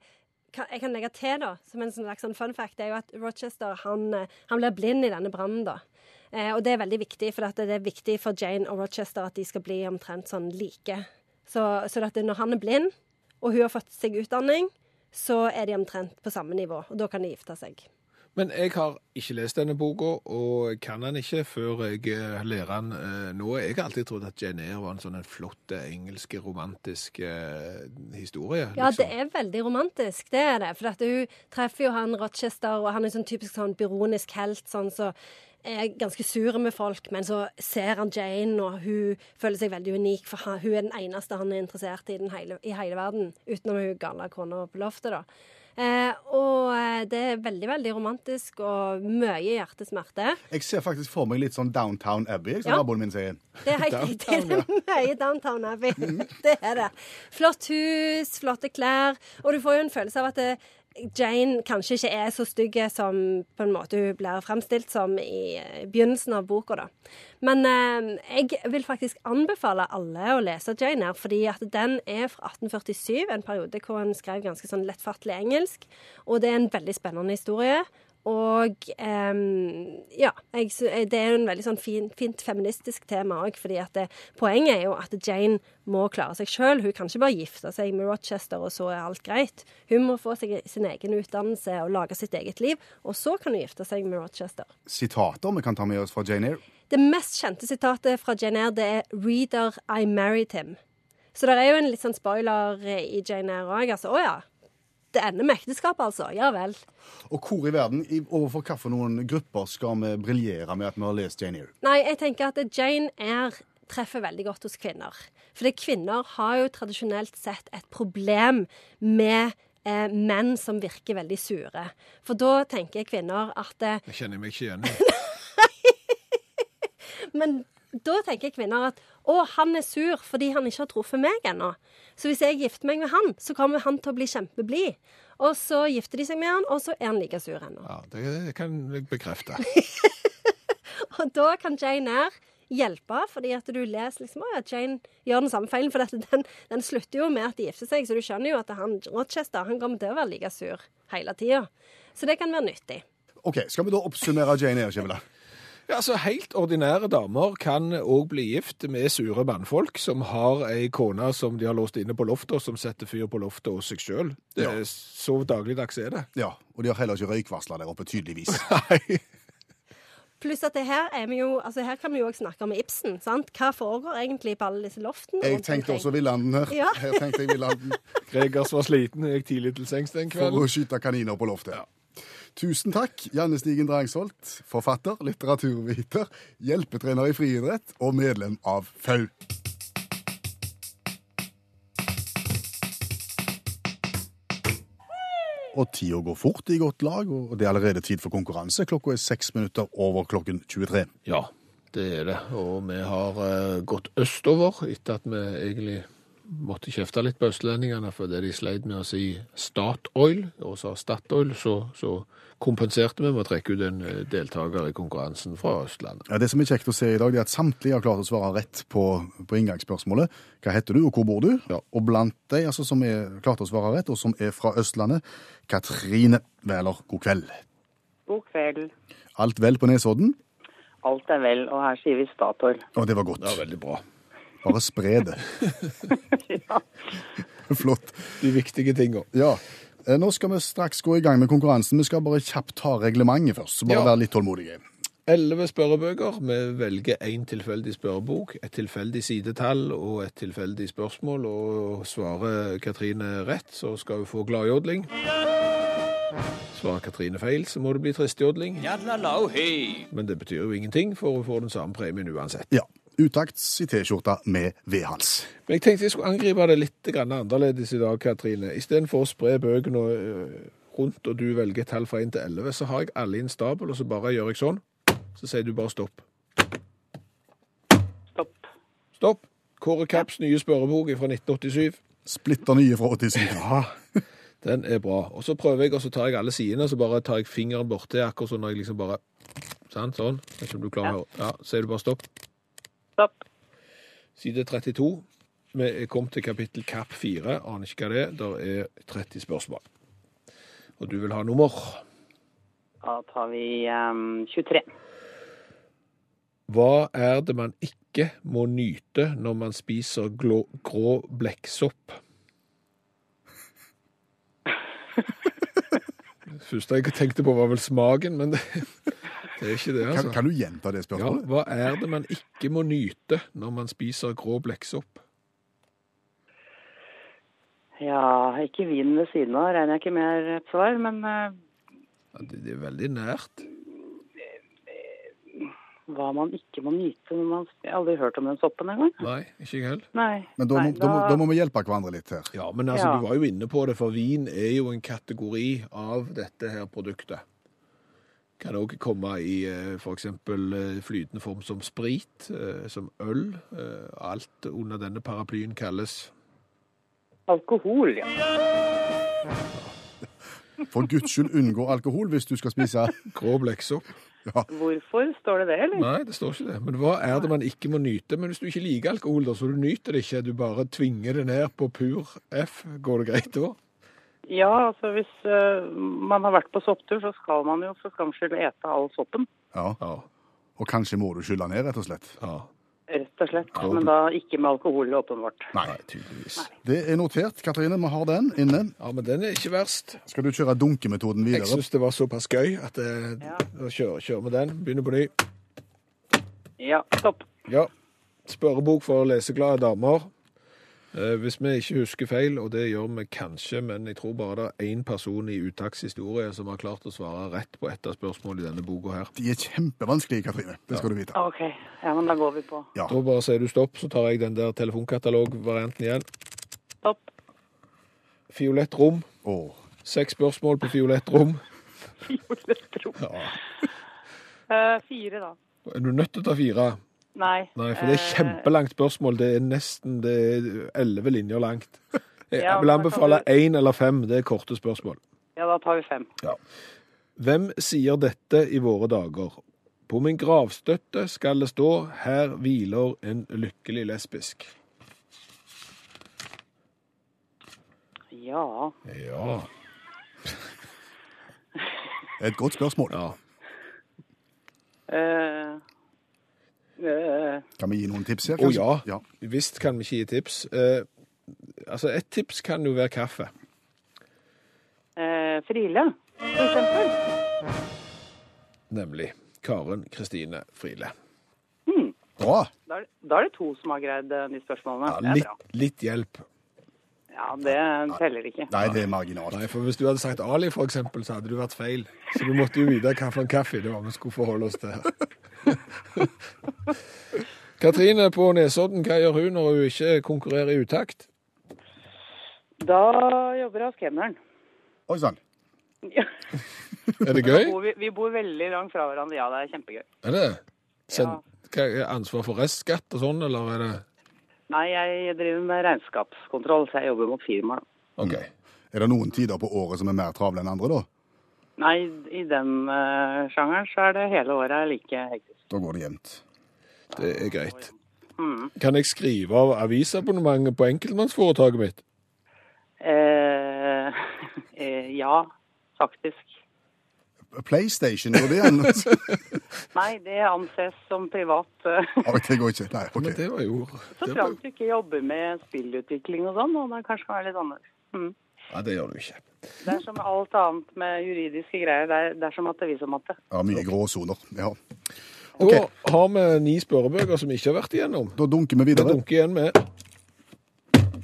Speaker 7: kan, jeg kan legge til, da, som en slags sånn fun fact, er jo at Rochester han, eh, han blir blind i denne brannen. da. Eh, og det er veldig viktig, for at det er viktig for Jane og Rochester at de skal bli omtrent sånn like. Så, så at når han er blind, og hun har fått seg utdanning, så er de omtrent på samme nivå. Og da kan de gifte seg.
Speaker 3: Men jeg har ikke lest denne boka, og kan den ikke før jeg eh, lærer den eh, nå. Jeg har alltid trodd at Jane Eyre var en sånn en flott eh, engelsk romantisk eh, historie.
Speaker 7: Ja,
Speaker 3: liksom.
Speaker 7: det er veldig romantisk, det er det. For at hun treffer jo han Rochester, og han er sånn typisk sånn byronisk helt, sånn så er ganske sur med folk, men så ser han Jane, og hun føler seg veldig unik, for han, hun er den eneste han er interessert i den hele, i hele verden, utenom hun gale kona på loftet, da. Eh, og eh, det er veldig, veldig romantisk, og mye hjertesmerte.
Speaker 1: Jeg ser faktisk for meg litt sånn Downtown Abbey, som
Speaker 7: Ja.
Speaker 1: naboen min sier.
Speaker 7: Det er helt riktig. Det [laughs] er mye downtown Abbey. [laughs] Det er det. Flott hus, flotte klær. Og du får jo en følelse av at eh, Jane kanskje ikke er så stygg som på en måte hun blir fremstilt som i eh, begynnelsen av boka, da. Men eh, jeg vil faktisk anbefale alle å lese Jane her, fordi at den er fra 1847, en periode hvor han skrev ganske sånn lettfattelig engelsk. Og det er en veldig spennende historie. Og ehm, ja, jeg, sy- det er jo en veldig sånn fin, fint feministisk tema òg. fordi at det, poenget er jo at Jane må klare seg sjøl. Hun kan ikke bare gifte seg med Rochester, og så er alt greit. Hun må få seg sin egen utdannelse og lage sitt eget liv, og så kan hun gifte seg med Rochester.
Speaker 1: Sitater vi kan ta med oss fra Jane Eyre.
Speaker 7: Det mest kjente sitatet fra Jane Eyre, det er 'Reader, I married him'. Så det er jo en litt sånn spoiler i Jane Eyre òg. Altså, å ja. Det ender med ekteskap, altså. Ja vel.
Speaker 1: Og hvor i verden, i- overfor hvilke noen grupper skal vi briljere med at vi har lest Jane Eyre?
Speaker 7: Nei, jeg tenker at Jane Eyre treffer veldig godt hos kvinner. Fordi kvinner har jo tradisjonelt sett et problem med eh, menn som virker veldig sure. For da tenker kvinner at eh, [laughs]
Speaker 3: Jeg kjenner meg ikke igjen. i.
Speaker 7: Men da tenker kvinner at å, han er sur fordi han ikke har truffet meg ennå. Så hvis jeg gifter meg med han, så kommer han til å bli kjempeblid. Og så gifter de seg med han, og så er han like sur ennå.
Speaker 3: Ja, det kan jeg bekrefte.
Speaker 7: Og da kan Jane Eyre hjelpe, fordi at du leser liksom at Jane gjør den samme feilen. For dette, den, den slutter jo med at de gifter seg, så du skjønner jo at han Rochester han kommer til å være like sur hele tida. Så det kan være nyttig.
Speaker 1: Ok, Skal vi da oppsummere Jane Eyre, Skjæveland?
Speaker 3: Ja, så Helt ordinære damer kan òg bli gift med sure mannfolk som har ei kone som de har låst inne på loftet, og som setter fyr på loftet og seg sjøl.
Speaker 1: Ja.
Speaker 3: Så dagligdags er det.
Speaker 1: Ja, og de har heller ikke røykvarsler der oppe, tydeligvis.
Speaker 7: [laughs] Pluss at det her er vi jo Altså her kan vi jo òg snakke om Ibsen, sant. Hva foregår egentlig på alle disse loftene?
Speaker 1: Jeg
Speaker 7: rundt
Speaker 1: tenkte
Speaker 7: omkring?
Speaker 1: også Villanden her.
Speaker 7: Ja.
Speaker 1: Her tenkte jeg Villanden
Speaker 8: Gregers var sliten og gikk tidlig til sengs den
Speaker 1: for
Speaker 8: kvelden.
Speaker 1: å skyte kaniner på loftet. Tusen takk, Janne Stigen Drangsholt, forfatter, litteraturviter, hjelpetrener i friidrett og medlem av FAU. Og tida går fort i godt lag, og det er allerede tid for konkurranse. Klokka er seks minutter over klokken 23.
Speaker 3: Ja, det er det. Og vi har eh, gått østover etter at vi egentlig måtte kjefte litt på østlendingene fordi de sleit med å si Statoil, og sa Statoil, så, så kompenserte vi med å trekke ut en eh, deltaker i konkurransen fra Østlandet.
Speaker 1: Ja, det som er kjekt å se i dag, det er at samtlige har klart å svare rett på, på inngangsspørsmålet. Hva heter du, og hvor bor du? Og blant de altså, som er klart å svare rett, og som er fra Østlandet, Katrine Wæler, god kveld.
Speaker 9: God kveld.
Speaker 1: Alt vel på Nesodden?
Speaker 9: Alt er vel, og her sier vi Statoil.
Speaker 1: Å, det var godt.
Speaker 3: Ja, veldig bra.
Speaker 1: Bare spre det.
Speaker 3: [laughs]
Speaker 1: Flott.
Speaker 3: De viktige tinga.
Speaker 1: Ja. eh, Nå skal vi straks gå i gang med konkurransen. Vi skal bare kjapt ta reglementet først. så Bare
Speaker 3: Ja.
Speaker 1: være litt tålmodige.
Speaker 3: Elleve spørrebøker. Vi velger én tilfeldig spørrebok, et tilfeldig sidetall og et tilfeldig spørsmål. Og svarer Katrine rett, så skal hun få gladjodling. Svarer Katrine feil, så må det bli tristjodling. Men det betyr jo ingenting, for hun får den samme premien uansett.
Speaker 1: Ja. Utakts i T-skjorta med V-hals.
Speaker 3: Men jeg tenkte jeg skulle angripe det litt grann annerledes i dag, Katrine. Istedenfor å spre bøkene øh, rundt, og du velger et tall fra 1 til 11, så har jeg alle i en stabel, og så bare gjør jeg sånn. Så sier du bare stopp.
Speaker 9: Stopp.
Speaker 3: Stopp. Kåre Kapps nye spørrebok fra 1987.
Speaker 1: Splitter nye fra 87.
Speaker 3: Ja. Den er bra. Og så prøver jeg, og så tar jeg alle sidene, og så bare tar jeg fingeren borti, akkurat sånn når jeg liksom bare Sant? Sånn. Vet ikke om du klarer å høre. Ja, så er det bare stopp.
Speaker 9: Stopp.
Speaker 3: Side 32. Vi er kommet til kapittel kapp 4. Aner ikke hva det er. Der er 30 spørsmål. Og du vil ha nummer.
Speaker 9: Da tar vi ehm, 23.
Speaker 3: Hva er det man ikke må nyte når man spiser glå, grå blekksopp? Det første jeg tenkte på, var vel smaken, men det, det er ikke det,
Speaker 1: Kan,
Speaker 3: altså.
Speaker 1: kan du gjenta det
Speaker 3: Ja,
Speaker 1: spørsmålet?
Speaker 3: hva er det man ikke må nyte når man spiser grå blekksopp?
Speaker 9: Ja, ikke vinen ved siden av, regner jeg ikke med et svar, men eh,
Speaker 3: Ja, det, det er veldig nært.
Speaker 9: hva man ikke må nyte når man Jeg har aldri hørt om den soppen engang.
Speaker 3: Nei, ikke jeg heller.
Speaker 9: Nei.
Speaker 1: Men da må,
Speaker 9: Nei,
Speaker 1: da, må, da må vi hjelpe hverandre litt her.
Speaker 3: Ja, men altså,
Speaker 9: Ja.
Speaker 3: du var jo inne på det, for vin er jo en kategori av dette her produktet. Kan òg komme i eh, f.eks. eh, flytende form som sprit, eh, som øl. eh, Alt under denne paraplyen kalles
Speaker 9: Alkohol, ja.
Speaker 1: For guds skyld, unngå alkohol hvis du skal spise
Speaker 3: grå blekksopp.
Speaker 9: Hvorfor står det det, eller?
Speaker 3: Nei, det står ikke det. Men hva er det man ikke må nyte? Men hvis du ikke liker alkohol, da, så du nyter det ikke, du bare tvinger det ned på pur F, går det greit da?
Speaker 9: Ja, altså hvis eh, man har vært på sopptur, så skal man jo for skams skyld ete all soppen.
Speaker 1: Ja,
Speaker 3: Ja.
Speaker 1: og kanskje må du skylle ned, rett og slett.
Speaker 3: ja.
Speaker 9: Rett og slett. Men da ikke med alkohol, åpenbart.
Speaker 3: Nei, tydeligvis.
Speaker 1: Det er notert, Katrine. Vi har den inne.
Speaker 3: Ja, men den er ikke verst.
Speaker 1: Skal du kjøre dunkemetoden
Speaker 3: Jeg
Speaker 1: videre?
Speaker 3: syns det var såpass gøy at eh, da kjører, kjører vi den. Begynner på ny.
Speaker 9: Ja, stopp.
Speaker 3: Ja. Spørrebok for leseglade damer. Eh, hvis vi ikke husker feil, og det gjør vi kanskje, men jeg tror bare det er én person i Utakts historie som har klart å svare rett på ett av spørsmålene i denne boka her.
Speaker 1: De er kjempevanskelige, Katrine. Det skal du vite.
Speaker 9: OK. Ja, men da går vi på.
Speaker 1: Ja.
Speaker 3: Da bare sier du stopp, så tar jeg den der telefonkatalogvarianten igjen.
Speaker 9: Stopp.
Speaker 3: Fiolett rom.
Speaker 1: Åh.
Speaker 3: Seks spørsmål på fiolett rom.
Speaker 9: Fire, da.
Speaker 3: Er du nødt til å ta fire?
Speaker 9: Eh, Nei.
Speaker 3: Nei, for det er
Speaker 9: Eh,
Speaker 3: kjempelangt spørsmål. Det er nesten det er elleve linjer langt.
Speaker 9: Ja,
Speaker 3: Jeg
Speaker 9: men
Speaker 3: vil
Speaker 9: da
Speaker 3: anbefale
Speaker 9: kan du-
Speaker 3: én eller fem. Det er korte spørsmål.
Speaker 9: Ja, da tar vi fem.
Speaker 3: Hvem sier dette i våre dager? På min gravstøtte skal det stå 'Her hviler en lykkelig lesbisk'.
Speaker 9: Ja.
Speaker 3: Ja.
Speaker 1: Et godt spørsmål.
Speaker 3: ja.
Speaker 9: Eh, eh,
Speaker 1: Kan vi gi noen tips her?
Speaker 3: Å
Speaker 1: kanskje?
Speaker 3: ja. Visst kan vi ikke gi tips. Eh, altså, et tips kan jo være kaffe.
Speaker 9: eh, Friele, for eksempel.
Speaker 3: Nemlig Karen Kristine Friele.
Speaker 1: Bra.
Speaker 9: Da er, det- da er det to som har greid eh, de spørsmålene.
Speaker 3: Ja,
Speaker 9: det er bra.
Speaker 3: litt, litt hjelp.
Speaker 9: Ja, det teller ikke.
Speaker 1: Nei, det er marginalt.
Speaker 8: Nei, for Hvis du hadde sagt Ali, for eksempel, så hadde du vært feil. Så du måtte jo vite hva for en kaffe det var vi skulle forholde oss til her.
Speaker 3: [laughs] Katrine på Nesodden, hva gjør hun når hun ikke konkurrerer i utakt?
Speaker 9: Da jobber jeg hos kemneren.
Speaker 1: Oi sann.
Speaker 9: Ja.
Speaker 3: Er det
Speaker 9: da
Speaker 3: gøy?
Speaker 9: bor Vi, vi bor veldig langt fra hverandre. Ja, det er kjempegøy.
Speaker 3: Er det? Send,
Speaker 9: Ja.
Speaker 3: hva, er ansvar for restskatt og sånn, eller er det
Speaker 9: Nei, jeg driver med regnskapskontroll, så jeg jobber mot firmaer. da.
Speaker 3: OK.
Speaker 1: Er det noen tider på året som er mer travle enn andre, da?
Speaker 9: Nei, i den eh, sjangeren så er det hele året like hektisk.
Speaker 1: Da går det jevnt.
Speaker 3: Det er greit. Kan jeg skrive av avisabonnementet på enkeltmannsforetaket mitt?
Speaker 9: Eh, [laughs] eh, ja, faktisk.
Speaker 1: PlayStation, går det [laughs] igjen?
Speaker 9: Nei, det anses som privat. [laughs] eh.
Speaker 1: Oi, det går ikke. Nei,
Speaker 3: Men
Speaker 1: ok.
Speaker 3: det var jo
Speaker 9: Så
Speaker 3: det var,
Speaker 9: fremt du ikke jobber med spillutvikling og sånn, og det kanskje kan være litt annerledes. Mm.
Speaker 3: Nei, det gjør du ikke.
Speaker 9: Det er som med alt annet med juridiske greier. Det er, det er som matte, vi som matte.
Speaker 1: Ja, mye gråsoner. Ja.
Speaker 3: Da har vi ni spørrebøker som vi ikke har vært igjennom.
Speaker 1: Da dunker vi
Speaker 3: Vi
Speaker 1: videre.
Speaker 3: dunker igjen med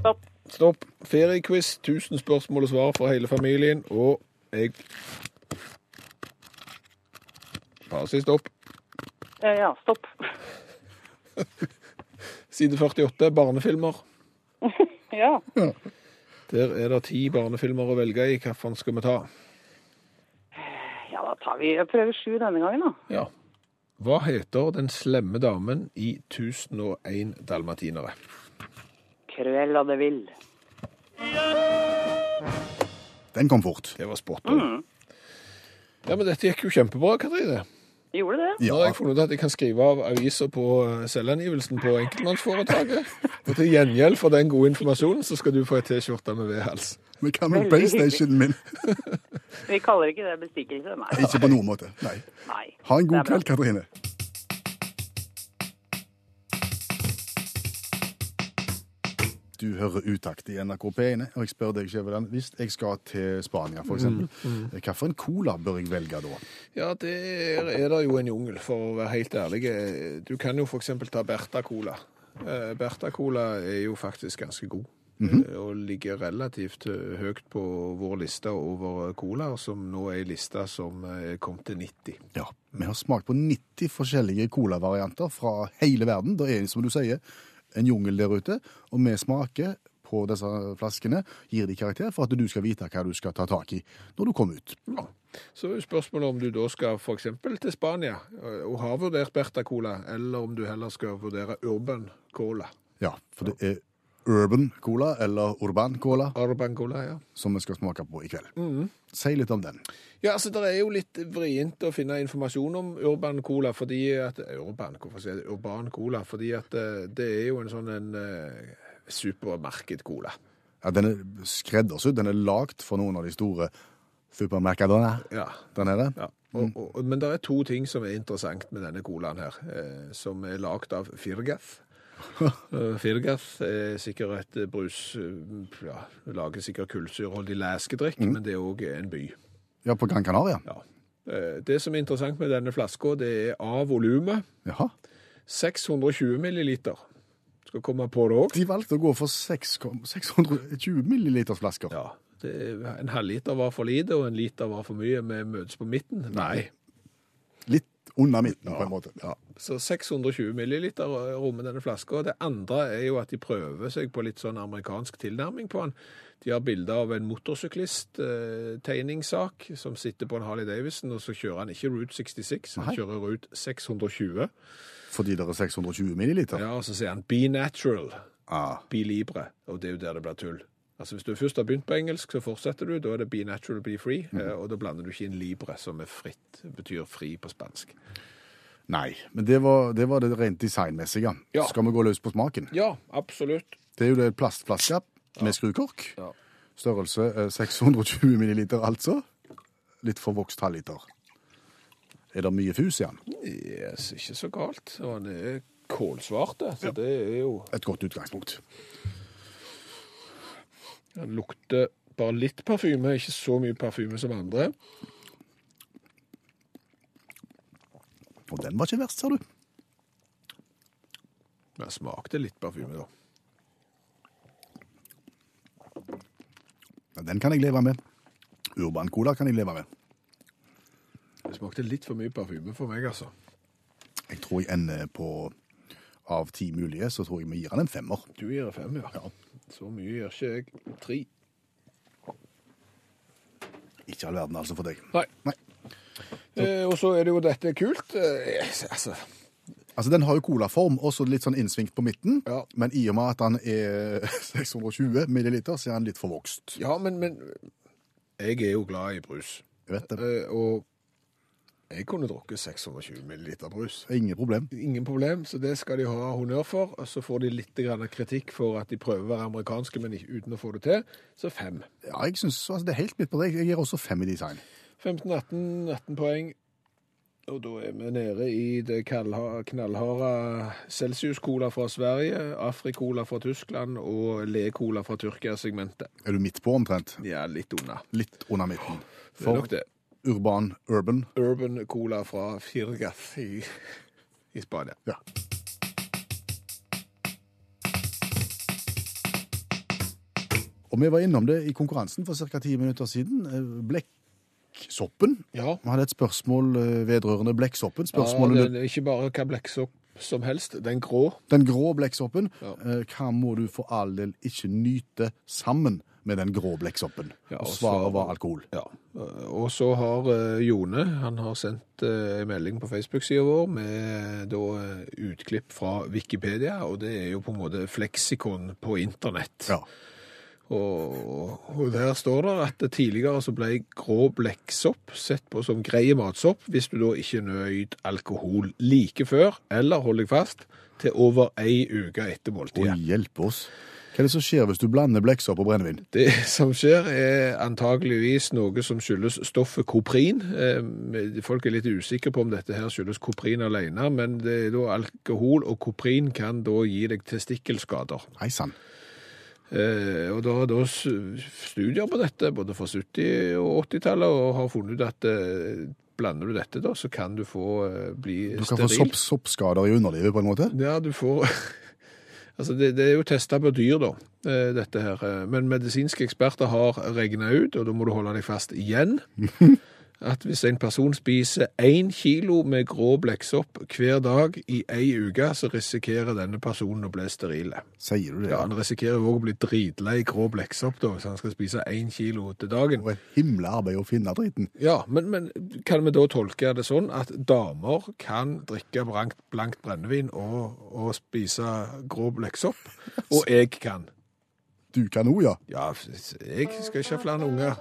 Speaker 9: Stopp.
Speaker 3: Stopp. Feriequiz, 1000 spørsmål og svar for hele familien, og jeg Bare si stopp.
Speaker 9: Eh, ja, stopp. [laughs]
Speaker 3: Side 48, barnefilmer.
Speaker 9: Ja.
Speaker 3: Der er det ti barnefilmer å velge i. Hvilken skal vi ta?
Speaker 9: ja, da tar vi jeg prøver sju denne gangen, da.
Speaker 3: Ja. Hva heter den slemme damen i 1001 dalmatinere?
Speaker 9: Cruella de Vil.
Speaker 1: Den kom fort.
Speaker 3: Det var spot on. Ja, men dette gikk jo kjempebra, Katrine.
Speaker 9: Gjorde det?
Speaker 3: Nå har jeg funnet ut at jeg kan skrive av aviser på eh, selvangivelsen på [laughs] enkeltmannsforetaket. Og til gjengjeld for den gode informasjonen, så skal du få ei T-skjorte med V-hals.
Speaker 1: Men hva med
Speaker 9: Veldig
Speaker 1: PlayStationen min?
Speaker 9: Vi kaller ikke det bestikkelse. Nei.
Speaker 1: Ikke på noen måte. Nei.
Speaker 9: Nei.
Speaker 1: Ha en
Speaker 9: Det er
Speaker 1: god
Speaker 9: bra.
Speaker 1: kveld, Katrine. Du hører utakt i NRK P1, og jeg spør deg, Skjæveland, hvis jeg skal til Spania, for eksempel, eh, hvilken cola bør jeg velge da?
Speaker 3: Ja, der er det jo en jungel, for å være helt ærlig. Eh, Du kan jo f.eks. ta Berta Cola. Eh, Berta Cola er jo faktisk ganske god. eh, Og ligger relativt eh, høyt på vår liste over cola, som nå er ei liste som eh, er kommet til 90.
Speaker 1: Ja, vi har smakt på 90 forskjellige colavarianter fra hele verden. Det er, som du sier, en jungel der ute, og vi smaker på disse flaskene, gir de karakter for at du skal vite hva du skal ta tak i når du kommer ut.
Speaker 3: Ja. Så er jo spørsmålet om du da skal f.eks. til Spania eh, og og har vurdert Berta Cola, eller om du heller skal vurdere Urban Cola.
Speaker 1: Ja, for det er urban cola, eller urban cola,
Speaker 3: Urban Cola, ja.
Speaker 1: som vi skal smake på i kveld.
Speaker 3: Mm.
Speaker 1: Si litt om den.
Speaker 3: Ja, altså Det er jo litt vrient å finne informasjon om Urban Cola, fordi at eh, Urban, hvorfor sier jeg det? Urban Cola, fordi at eh, det er jo en sånn en eh, supermarked-cola.
Speaker 1: Ja, den er skreddersydd, den er lagd for noen av de store supermarkedene.
Speaker 3: Ja.
Speaker 1: Den er det.
Speaker 3: ja. Og, og, og- men det er to ting som er interessant med denne colaen her, eh, som er lagd av Firgath. Eh, Firgath er sikkert et eh, brus eh, ja, Lager sikkert kullsyreholdig læskedrikk, men det er òg en by.
Speaker 1: Ja, på Gran Canaria.
Speaker 3: Ja. Eh, Det som er interessant med denne flaska, det er av volumet.
Speaker 1: Jaha.
Speaker 3: 620 milliliter. Skal komme på det òg.
Speaker 1: De valgte å gå for 6, 620 milliliters flasker.
Speaker 3: Ja. Det, er- en halvliter var for lite, og en liter var for mye. Vi møtes på midten. Nei.
Speaker 1: Litt under midten, på en måte.
Speaker 3: Ja. Så 620 milliliter rommer denne flaska. Det andre er jo at de prøver seg på litt sånn amerikansk tilnærming på den. De har bilde av en motorsyklist, eh, tegningssak, som sitter på en Harley Davidson, og så kjører han ikke Route 66, han
Speaker 1: Nei.
Speaker 3: kjører Route 620.
Speaker 1: Fordi det er 620 milliliter?
Speaker 3: Ja, og så sier han 'be natural',
Speaker 1: Ah,
Speaker 3: 'be libre', og det er jo der det blir tull. Altså Hvis du først har begynt på engelsk, så fortsetter du. Da er det 'be natural, be free', eh, og da blander du ikke inn 'libre', som er fritt, betyr fri på spansk.
Speaker 1: nei, men det var det, var det rent designmessige.
Speaker 3: Ja.
Speaker 1: Skal vi gå løs på smaken?
Speaker 3: Ja, absolutt.
Speaker 1: Det er jo det plastflaske med skrukork.
Speaker 3: Ja.
Speaker 1: Størrelse eh, 620 milliliter, altså. Litt forvokst halvliter. Er det mye fus i den?
Speaker 3: Yes, ikke så galt. Og han er kålsvart, det, så det er jo
Speaker 1: Et godt utgangspunkt.
Speaker 3: Han lukter bare litt parfyme, ikke så mye parfyme som andre.
Speaker 1: Og den var ikke verst, ser du.
Speaker 3: Men han smakte litt parfyme, da.
Speaker 1: Ja, Den kan jeg leve med. Urban Cola kan jeg leve med.
Speaker 3: Det smakte litt for mye parfyme for meg, altså.
Speaker 1: Jeg tror jeg ender på Av ti mulige så tror jeg vi gir den en femmer.
Speaker 3: Du gir det fem, ja. Så mye gjør ikke jeg. Tre.
Speaker 1: Ikke all verden, altså, for deg.
Speaker 3: Nei.
Speaker 1: Nei.
Speaker 3: Eh, og så er det jo dette er kult. Eh, yes, altså,
Speaker 1: Altså, Den har jo colaform, og så litt sånn innsvingt på midten.
Speaker 3: Ja.
Speaker 1: Men i og med at den er [laughs] 620 milliliter, så er den litt forvokst.
Speaker 3: ja, men, men Jeg er jo glad i brus.
Speaker 1: Jeg vet det.
Speaker 3: Eh, og jeg kunne drukket 620 milliliter brus.
Speaker 1: Ingen problem.
Speaker 3: Ingen problem, så det skal de ha honnør for. Og så får de litt grann kritikk for at de prøver å være amerikanske, men ikke, uten å få det til. Så fem.
Speaker 1: Ja, jeg synes, altså, Det er helt midt på deg. Jeg gir også fem i design.
Speaker 3: 15-18 18 poeng. Og da er vi nede i det kallha- knallharde Celsius-cola fra Sverige, Afri-cola fra Tyskland og Le-cola fra Tyrkia-segmentet.
Speaker 1: Er du midt på, omtrent?
Speaker 3: Ja, litt unna.
Speaker 1: Litt under midten.
Speaker 3: Det er nok det.
Speaker 1: Urban, urban.
Speaker 3: Urban-cola fra Firgath i, i Spania.
Speaker 1: Ja. Og vi var innom det i konkurransen for ca. ti minutter siden. Eh, Blekksoppen.
Speaker 3: Ja.
Speaker 1: Vi hadde et spørsmål eh, vedrørende blekksoppen. Spørsmålet
Speaker 3: det er ikke bare hva blekksopp som helst. Den grå.
Speaker 1: den grå blekksoppen.
Speaker 3: Ja.
Speaker 1: Eh, Hva må du for all del ikke nyte sammen med den grå blekksoppen?
Speaker 3: Ja,
Speaker 1: og
Speaker 3: og
Speaker 1: svaret
Speaker 3: svaret-
Speaker 1: var alkohol.
Speaker 3: Ja. Og så har eh, Jone han har sendt eh, en melding på Facebook-sida vår med eh, da eh, utklipp fra Wikipedia, og det er jo på en måte fleksikon på internett.
Speaker 1: Ja.
Speaker 3: Og, og der står det at tidligere så ble grå blekksopp sett på som grei matsopp hvis du da ikke nøyd alkohol like før, eller hold deg fast, til over ei uke etter
Speaker 1: Og
Speaker 3: måltidet.
Speaker 1: hjelpe oss. Hva er det som skjer hvis du blander blekksopp og brennevin?
Speaker 3: Det som skjer er antageligvis noe som skyldes stoffet koprin. Eh, Folk er litt usikre på om dette her skyldes koprin alene, men det er da alkohol, og koprin kan da gi deg testikkelskader.
Speaker 1: Hei sann.
Speaker 3: Eh, og da er da s- studier på dette, både fra 70- og 80-tallet, og har funnet ut at eh, blander du dette da, så kan du få eh, bli
Speaker 1: Du kan få
Speaker 3: steril.
Speaker 1: sopp, soppskader i underlivet, på en måte.
Speaker 3: Ja, du får [laughs] Altså, det, det er jo testa på dyr, da, eh, dette her. eh, Men medisinske eksperter har regna ut, og da må du holde deg fast igjen, at hvis en person spiser én kilo med grå blekksopp hver dag i ei uke, så risikerer denne personen å bli sterile.
Speaker 1: Sier du det?
Speaker 3: Ja, Han risikerer jo òg å bli dritlei grå blekksopp, da, så han skal spise én kilo til dagen.
Speaker 1: Og et himla arbeid å finne driten.
Speaker 3: Ja, men, men kan vi da tolke det sånn at damer kan drikke blankt, blankt brennevin og, og spise grå blekksopp? Og jeg kan.
Speaker 1: Du kan òg, ja.
Speaker 3: Ja, jeg skal ikke ha flere unger.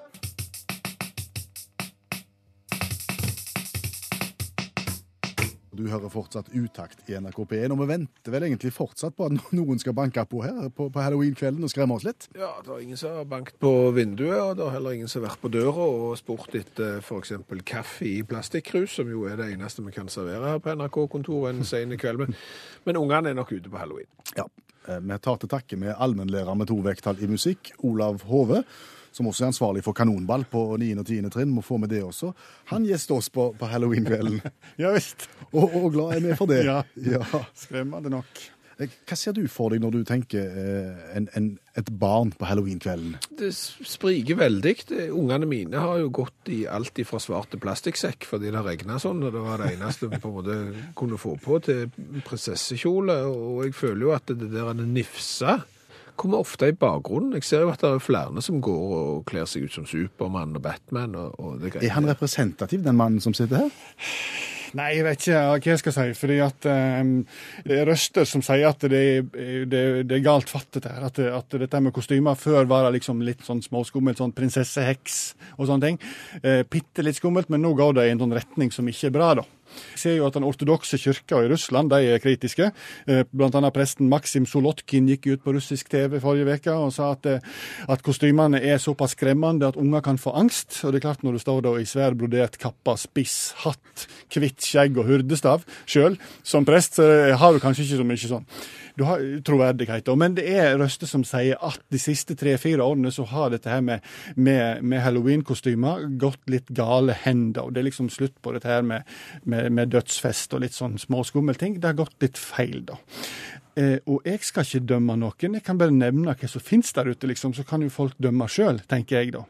Speaker 1: Du hører fortsatt utakt i NRK P1, og vi venter vel egentlig fortsatt på at noen skal banke på her på, på halloweenkvelden og skremme oss litt.
Speaker 3: Ja, det er ingen som har banket på vinduet, og det er heller ingen som har vært på døra og spurt etter f.eks. kaffe i plastikkrus, som jo er det eneste vi kan servere her på NRK-kontoret en sen kveld. Men, men ungene er nok ute på halloween.
Speaker 1: Ja. Eh, Vi tar til takke med allmennlærer med to vekttall i musikk, Olav Hove, som også er ansvarlig for kanonball på 9. og 10. trinn. Må få med det også. Han gjester oss på, på halloweenkvelden,
Speaker 5: Ja visst.
Speaker 1: og, og glad er vi for det.
Speaker 5: Ja.
Speaker 1: Ja.
Speaker 5: Skremmende nok.
Speaker 1: Eh, Hva ser du for deg når du tenker eh, en, en, et barn på halloweenkvelden?
Speaker 3: det spriker veldig. Det- Ungene mine har jo gått i alt fra svart til plastikksekk fordi det regna sånn, og det var det eneste vi på en måte kunne få på til prinsessekjole. Og jeg føler jo at det der er nifsa kommer ofte i bakgrunnen. Jeg ser jo at det er flere som går og kler seg ut som Supermann og Batman og, og det
Speaker 1: Er han representativ, den mannen som sitter her?
Speaker 5: Nei, jeg vet ikke hva jeg skal si. fordi at ehm, Det er røster som sier at det er, det, er- det er galt fattet her. At, det- at dette med kostymer før var det liksom litt sånn småskummelt, sånn prinsesseheks og sånne ting. Eh, Bitte litt skummelt, men nå går det i en sånn retning som ikke er bra, da. Jeg ser jo at Den ortodokse kirka i Russland de er kritiske. Eh, Blant annet presten Maksim Solotkin gikk ut på russisk TV forrige uke og sa at, eh, at kostymene er såpass skremmende at unger kan få angst. Og det er klart Når du står da i svær brodert kappe, spiss hatt, hvitt skjegg og hurdestav sjøl, som prest, så har du kanskje ikke så mye sånn du har troverdighet. da, Men det er røster som sier at de siste tre-fire årene så har dette her med, med, med halloween-kostymer gått litt gale hender. og Det er liksom slutt på dette her med, med, med dødsfest og litt sånn småskummel ting. Det har gått litt feil, da. Eh, og jeg skal ikke dømme noen, jeg kan bare nevne hva som finnes der ute, liksom. Så kan jo folk dømme sjøl, tenker jeg da.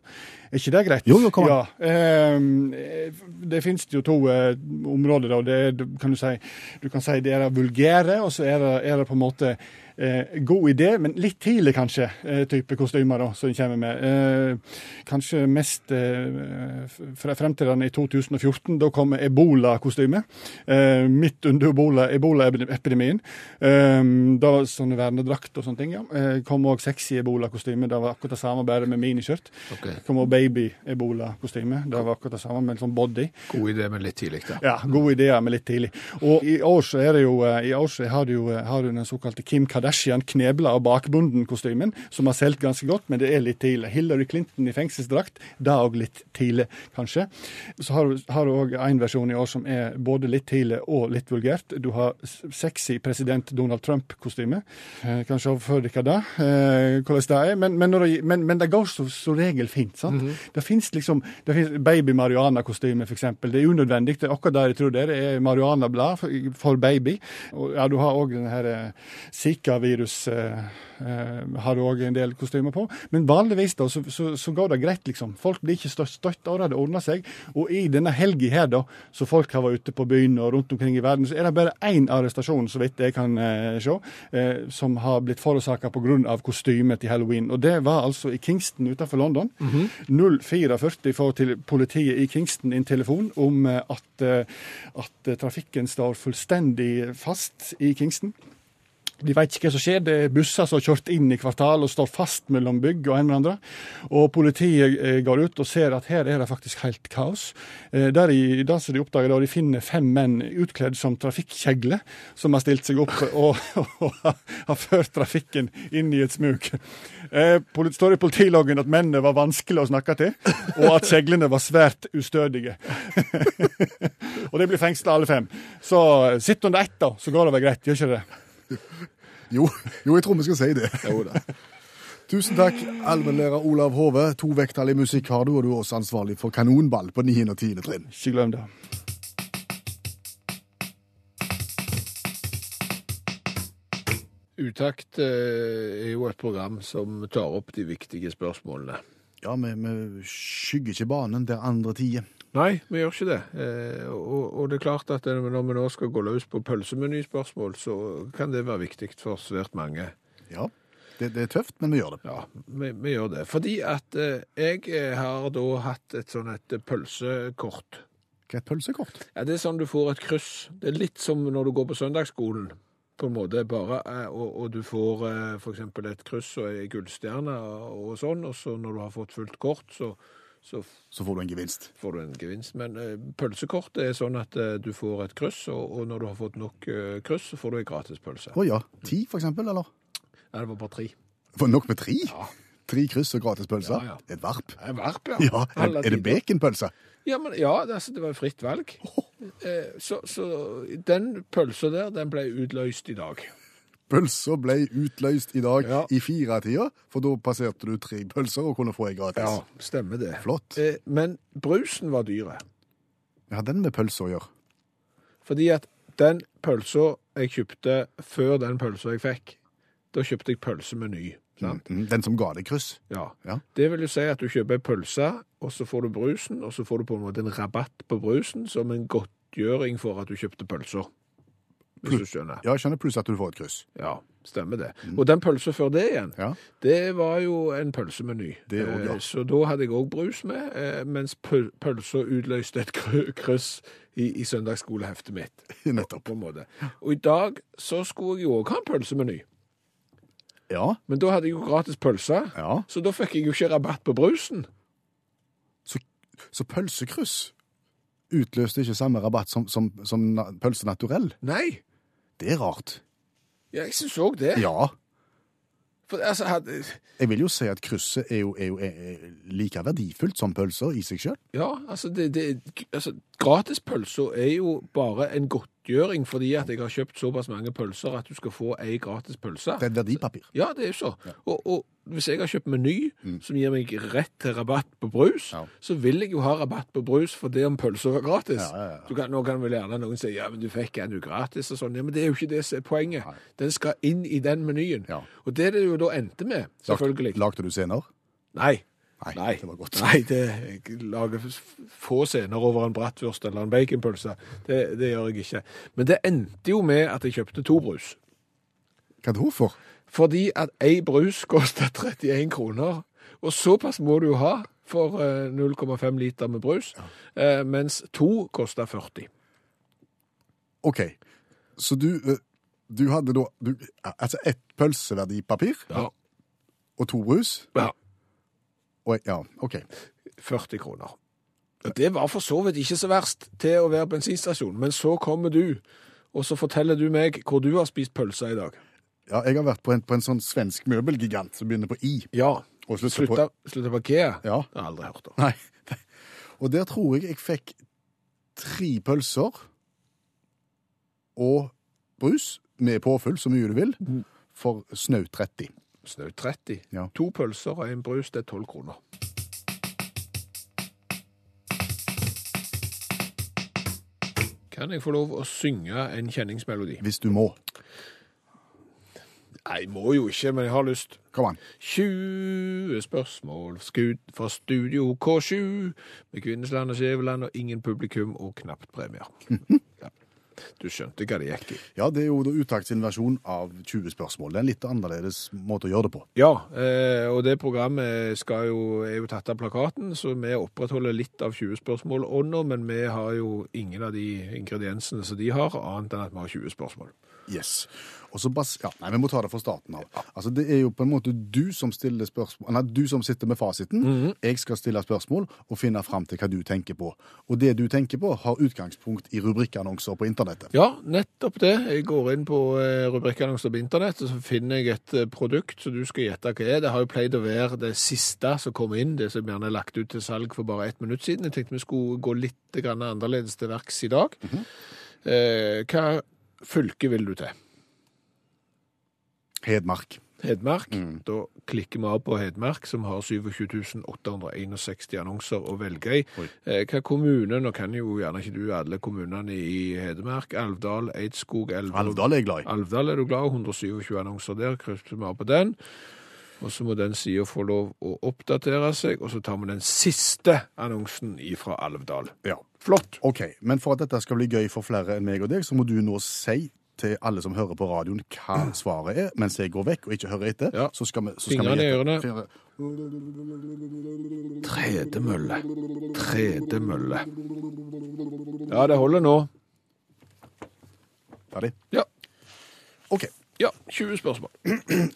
Speaker 5: Er ikke det greit?
Speaker 1: Jo, jo, kom an.
Speaker 5: Ja, Ehm, eh, Det finnes jo to eh, områder. Da. Det er, du- kan du, si, du kan si det er det vulgære, og så er det, er det på en måte eh, god idé, men litt tidlig kanskje, eh, type kostymer da, som de kommer med. Eh, kanskje mest eh, fra fremtredende i 2014. Da kom ebolakostyme. Eh, midt under ebola- ebolaepidemien. Eh, da var det sånne vernedrakt og sånne ting. ja. Eh, kom òg sexy ebolakostyme. Det var akkurat det samme, bare med miniskjørt.
Speaker 3: Ok.
Speaker 5: Det kom også baby-ebola-kostyme. Det var akkurat det samme, med en sånn body.
Speaker 3: God idé, men litt tidlig, da.
Speaker 5: Ja, gode ideer, men litt tidlig. Og i år så er det jo, eh, i år så har du jo har du den såkalte Kim Kardashian knebla av bakbunden-kostymen, som har solgt ganske godt, men det er litt tidlig. Hillary Clinton i fengselsdrakt, det er òg litt tidlig, kanskje. Så har du- har du òg en versjon i år som er både litt tidlig og litt vulgært. Du har s- sexy president Donald Trump-kostyme. Eh, Kan se for dere det, eh, hvordan det er. Men, men, når det, men, men det går som som regel fint. sant? Det fins liksom det finnes baby-marihuana-kostyme, f.eks. Det er unødvendig. Det er akkurat det jeg tror det er. Det er marihuana-blad for, for baby. Og, ja, du har òg den her eh, Zika-virus eh, eh, har du òg en del kostymer på. Men vanligvis da, så, så, så går det greit, liksom. Folk blir ikke støtt, støtt av det. Det ordner seg. Og i denne helga her, da, så folk har vært ute på byen og rundt omkring i verden, så er det bare én arrestasjon, så vidt jeg kan eh, se, eh, som har blitt forårsaka pga. kostymet til halloween. Og det var altså i Kingston utenfor London. 0440 får til politiet i Kingston en telefon om eh, at, eh, at eh, trafikken står fullstendig fast i Kingston. De vet ikke hva som skjer. Det er busser som har kjørt inn i kvartalet og står fast mellom bygg og en hverandre. Og politiet eh, går ut og ser at her er det faktisk helt kaos. Eh, Der i, da som de oppdager da, de finner fem menn utkledd som trafikkjegler, som har stilt seg opp og, [laughs] og har ført trafikken inn i et smug. Eh, poli- står i politiloggen at mennene var vanskelig å snakke til, og at kjeglene var svært ustødige. [laughs] og de blir fengsla alle fem. Så sitt under ett, da, så går det vel greit, gjør ikke det?
Speaker 1: Jo, jo, jeg tror vi skal si det. Tusen takk, allmennlærer Olav Hove. To vekttall i musikk har du, og du er også ansvarlig for kanonball på 9. og 10. trinn.
Speaker 5: Ikke glem det.
Speaker 3: Utakt eh, er jo et program som tar opp de viktige spørsmålene.
Speaker 1: Ja, vi, vi skygger ikke banen der andre tider.
Speaker 3: Nei, vi gjør ikke det. Eh, og, og det er klart at eh, når vi nå skal gå løs på pølsemenyspørsmål, så kan det være viktig for svært mange.
Speaker 1: Ja, det, det er tøft, men vi gjør det.
Speaker 3: Ja, vi, vi gjør det. Fordi at eh, jeg eh, har da hatt et sånn et pølsekort.
Speaker 1: Hva er et pølsekort?
Speaker 3: Ja, det er sånn du får et kryss. Det er litt som når du går på søndagsskolen, på en måte bare, eh, og, og du får eh, for eksempel et kryss og en gullstjerne og, og sånn, og så når du har fått fullt kort, så, så
Speaker 1: Så får du en gevinst.
Speaker 3: får du en gevinst. Men eh, pølsekortet er sånn at eh, du får et kryss, og, og når du har fått nok eh, kryss, så får du en gratis pølse.
Speaker 1: Å ja. Ti, for eksempel, eller?
Speaker 3: Ja, det var bare tre.
Speaker 1: For nok med tre? Tre kryss og gratis pølser?
Speaker 3: Ja, ja.
Speaker 1: Et varp?
Speaker 3: En varp,
Speaker 1: Ja, er,
Speaker 3: Alle
Speaker 1: er det
Speaker 3: tider.
Speaker 1: baconpølse?
Speaker 3: Ja, men, ja det, altså, det var fritt valg. Eh, så, så den pølsa der, den ble utløst i dag.
Speaker 1: Pølser ble utløst i dag
Speaker 3: Ja.
Speaker 1: i firetida, for da passerte du tre pølser og kunne få ei gratis.
Speaker 3: stemmer det.
Speaker 1: Flott.
Speaker 3: Eh, men brusen var dyre,
Speaker 1: Jeg har den med pølser å gjøre.
Speaker 3: fordi at den pølsa jeg kjøpte før den pølsa jeg fikk, da kjøpte jeg pølse med ny. Sant?
Speaker 1: Mm, Den som ga deg kryss.
Speaker 3: Ja.
Speaker 1: Ja.
Speaker 3: Det vil jo si at du kjøper en pølse, og så får du brusen, og så får du på en måte en rabatt på brusen som en godtgjøring for at du kjøpte pølser. Hvis du skjønner.
Speaker 1: Hm. Ja, jeg skjønner pluss at du får et kryss.
Speaker 3: Ja. Stemmer det. Og den pølsa før det igjen,
Speaker 1: Hm. Ja.
Speaker 3: det var jo en pølsemeny.
Speaker 1: Det også, ja.
Speaker 3: Eh, Så da hadde jeg òg brus med, eh, mens pøl- pølsa utløste et krø- kryss i, i søndagsskoleheftet mitt.
Speaker 1: [laughs] Nettopp.
Speaker 3: På en måte. Og i dag så skulle jeg jo òg ha en pølsemeny,
Speaker 1: Ja,
Speaker 3: men da hadde jeg jo gratis pølse,
Speaker 1: ja.
Speaker 3: så da fikk jeg jo ikke rabatt på brusen.
Speaker 1: Så pølsekryss utløste ikke samme rabatt som, som, som na- pølse naturell.
Speaker 3: Nei!
Speaker 1: Det er rart.
Speaker 3: Ja, jeg syns òg det.
Speaker 1: Ja.
Speaker 3: For altså, hadde,
Speaker 1: Jeg vil jo si at krysset er jo, er jo er, er like verdifullt som pølser i seg sjøl.
Speaker 3: Ja, altså, det, det, altså gratispølsa er jo bare en godtgjøring fordi at jeg har kjøpt såpass mange pølser at du skal få ei gratis pølse.
Speaker 1: Det er et verdipapir.
Speaker 3: Ja, det er jo så. Og, og hvis jeg har kjøpt Meny, som gir meg rett til rabatt på brus,
Speaker 1: Mm. Ja.
Speaker 3: så vil jeg jo ha rabatt på brus for det om pølser var gratis.
Speaker 1: Ja, ja, ja.
Speaker 3: Du kan, nå kan vel gjerne noen si ja, men du fikk en jo gratis og sånn. Ja, men det er jo ikke det som er poenget. Den skal inn i den menyen.
Speaker 1: Ja.
Speaker 3: Og det det jo da endte med, selvfølgelig.
Speaker 1: Lagde du senere?
Speaker 3: Nei.
Speaker 1: Nei, det var godt.
Speaker 3: Nei, det, jeg lager f- få scener over en bratwurst eller en baconpølse. Det, det gjør jeg ikke. Men det endte jo med at jeg kjøpte to brus.
Speaker 1: Hva er det hun for?
Speaker 3: Fordi at ei brus koster 31 kroner, og såpass må du jo ha for eh, 0,5 liter med brus, eh, mens to koster 40.
Speaker 1: OK, så du, eh, du hadde da du, Altså ett pølseverdipapir
Speaker 3: Ja.
Speaker 1: og to brus?
Speaker 3: ja.
Speaker 1: Og, ja, OK.
Speaker 3: 40 kroner. Og Det var for så vidt ikke så verst til å være bensinstasjon, men så kommer du, og så forteller du meg hvor du har spist pølser i dag.
Speaker 1: Ja, jeg har vært på en, på en sånn svensk møbelgigant som begynner på I.
Speaker 3: Ja,
Speaker 1: Og slutter
Speaker 3: Slutta, slutta på G?
Speaker 1: Ja. [laughs]
Speaker 3: Det har jeg aldri hørt om.
Speaker 1: Nei. Og der tror jeg jeg fikk tre pølser og brus, med påfyll så mye du vil, for snaut 30.
Speaker 3: Snaut 30.
Speaker 1: Ja.
Speaker 3: To pølser og en brus, det er 12 kroner. Kan jeg få lov å synge en kjenningsmelodi?
Speaker 1: Hvis du må.
Speaker 3: Nei, må jo ikke, men jeg har lyst.
Speaker 1: Kom an.
Speaker 3: 20 spørsmål skutt fra Studio K7, med Kvinnesland og Skjæveland og ingen publikum og knapt [laughs] premier. Ja. Du skjønte hva det gikk i.
Speaker 1: Ja, det er jo da Utakts versjon av 20 spørsmål. Det er en litt annerledes måte å gjøre det på.
Speaker 3: Ja, eh, og det programmet skal jo, er jo tatt av plakaten, så vi opprettholder litt av 20 spørsmål ånda, men vi har jo ingen av de ingrediensene som de har, annet enn at vi har 20 spørsmål.
Speaker 1: Yes. Og så bas... Ja, nei, vi må ta det fra starten av. Altså, Det er jo på en måte du som stiller spørsmål... Nei, du som sitter med fasiten. Jeg skal stille spørsmål og finne fram til hva du tenker på. Og det du tenker på, har utgangspunkt i rubrikkannonser på internettet.
Speaker 3: Ja, nettopp det. Jeg går inn på eh, rubrikkannonser på internett, og så finner jeg et eh, produkt som du skal gjette hva er. Det har jo pleid å være det siste som kom inn, det som gjerne er lagt ut til salg for bare ett minutt siden. Jeg tenkte vi skulle gå litt grann annerledes til verks i dag. eh, hva fylke vil du til?
Speaker 1: Hedmark.
Speaker 3: Hedmark. Da klikker vi av på Hedmark, som har 27 861 annonser å velge i.
Speaker 1: Oi.
Speaker 3: Eh, Hva kommune Nå kan jo gjerne ikke du alle kommunene i Hedmark. Alvdal, Eidskog, Elverum
Speaker 1: Alvdal er jeg glad i.
Speaker 3: Alvdal er du glad i. 127 annonser der. Krysser vi av på den. Og så må den sida få lov å oppdatere seg. Og så tar vi den siste annonsen fra Alvdal.
Speaker 1: Ja.
Speaker 3: Flott.
Speaker 1: OK, men for at dette skal bli gøy for flere enn meg og deg, så må du nå si til alle som hører på radioen, hva svaret er, mens jeg går vekk og ikke hører etter.
Speaker 3: Ja.
Speaker 1: Så skal vi, så skal
Speaker 3: Fingrene
Speaker 1: vi
Speaker 3: i
Speaker 1: gjette.
Speaker 3: ørene.
Speaker 1: Fingre-
Speaker 3: Tredemølle. Tredemølle. Ja, det holder nå.
Speaker 1: Ferdig.
Speaker 3: Ja.
Speaker 1: OK.
Speaker 3: Ja, 20 spørsmål.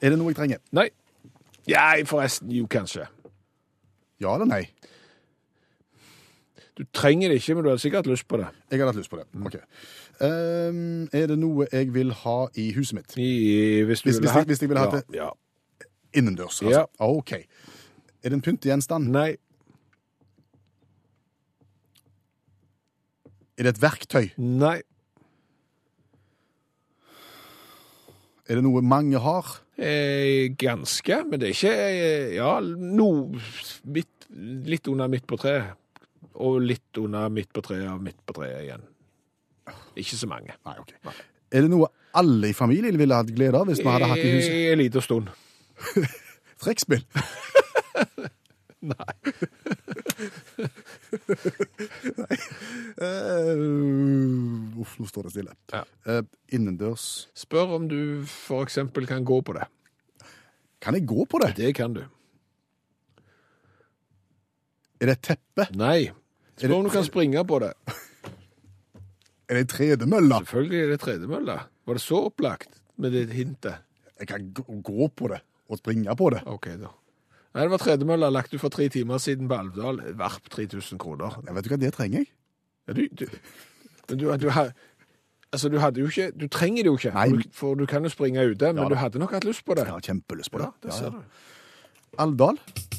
Speaker 1: Er det noe jeg trenger?
Speaker 3: Nei. Nei, forresten, jo kanskje.
Speaker 1: Ja eller nei?
Speaker 3: Du trenger det ikke, men du har sikkert lyst på det.
Speaker 1: Jeg hadde hatt lyst på det.
Speaker 3: Mm.
Speaker 1: Ok. Ehm, er det noe jeg vil ha i huset mitt?
Speaker 3: I, hvis, du
Speaker 1: Hvis-
Speaker 3: ville
Speaker 1: hvis jeg- hvis jeg ville hatt det.
Speaker 3: Ja. ja.
Speaker 1: Innendørs, altså.
Speaker 3: Ja.
Speaker 1: OK. Er det en pyntegjenstand?
Speaker 3: Nei.
Speaker 1: Er det et verktøy?
Speaker 3: Nei.
Speaker 1: Er det noe mange har?
Speaker 3: Eh, ganske, men det er ikke eh, Ja, no, midt, litt under midt på treet. Og litt under midt på treet og midt på treet igjen. Ikke så mange.
Speaker 1: Nei, OK. Er det noe alle i familien ville hatt glede av hvis vi hadde hatt i huset?
Speaker 3: I Eh, en liten stund. Eh.
Speaker 1: [laughs] Trekkspill?
Speaker 3: Nei.
Speaker 1: Eh, uff, nå står det stille.
Speaker 3: Ja.
Speaker 1: Eh, innendørs
Speaker 3: Spør om du for eksempel kan gå på det.
Speaker 1: Kan jeg gå på det?
Speaker 3: Det kan du.
Speaker 1: Er det et teppe?
Speaker 3: Nei.
Speaker 1: Er det-
Speaker 3: Spør om du kan springe på det.
Speaker 1: Er det ei tredemølle?
Speaker 3: Selvfølgelig er det tredemølle. Var det så opplagt med det hintet?
Speaker 1: Jeg kan g- gå på det og springe på det.
Speaker 3: OK, da. Nei, det var tredemølla lagt ut for tre timer siden på Alvdal. Varp 3000 kroner.
Speaker 1: Jeg vet du hva, det trenger jeg.
Speaker 3: Ja, du, du, men du, du, har- altså, du hadde jo ikke Du trenger det jo ikke,
Speaker 1: Nei.
Speaker 3: for du- for du kan jo springe ute, men
Speaker 1: da.
Speaker 3: du hadde nok hatt lyst på det.
Speaker 1: Jeg har kjempelyst på det.
Speaker 3: Ja, det ser du.
Speaker 1: Alvdal.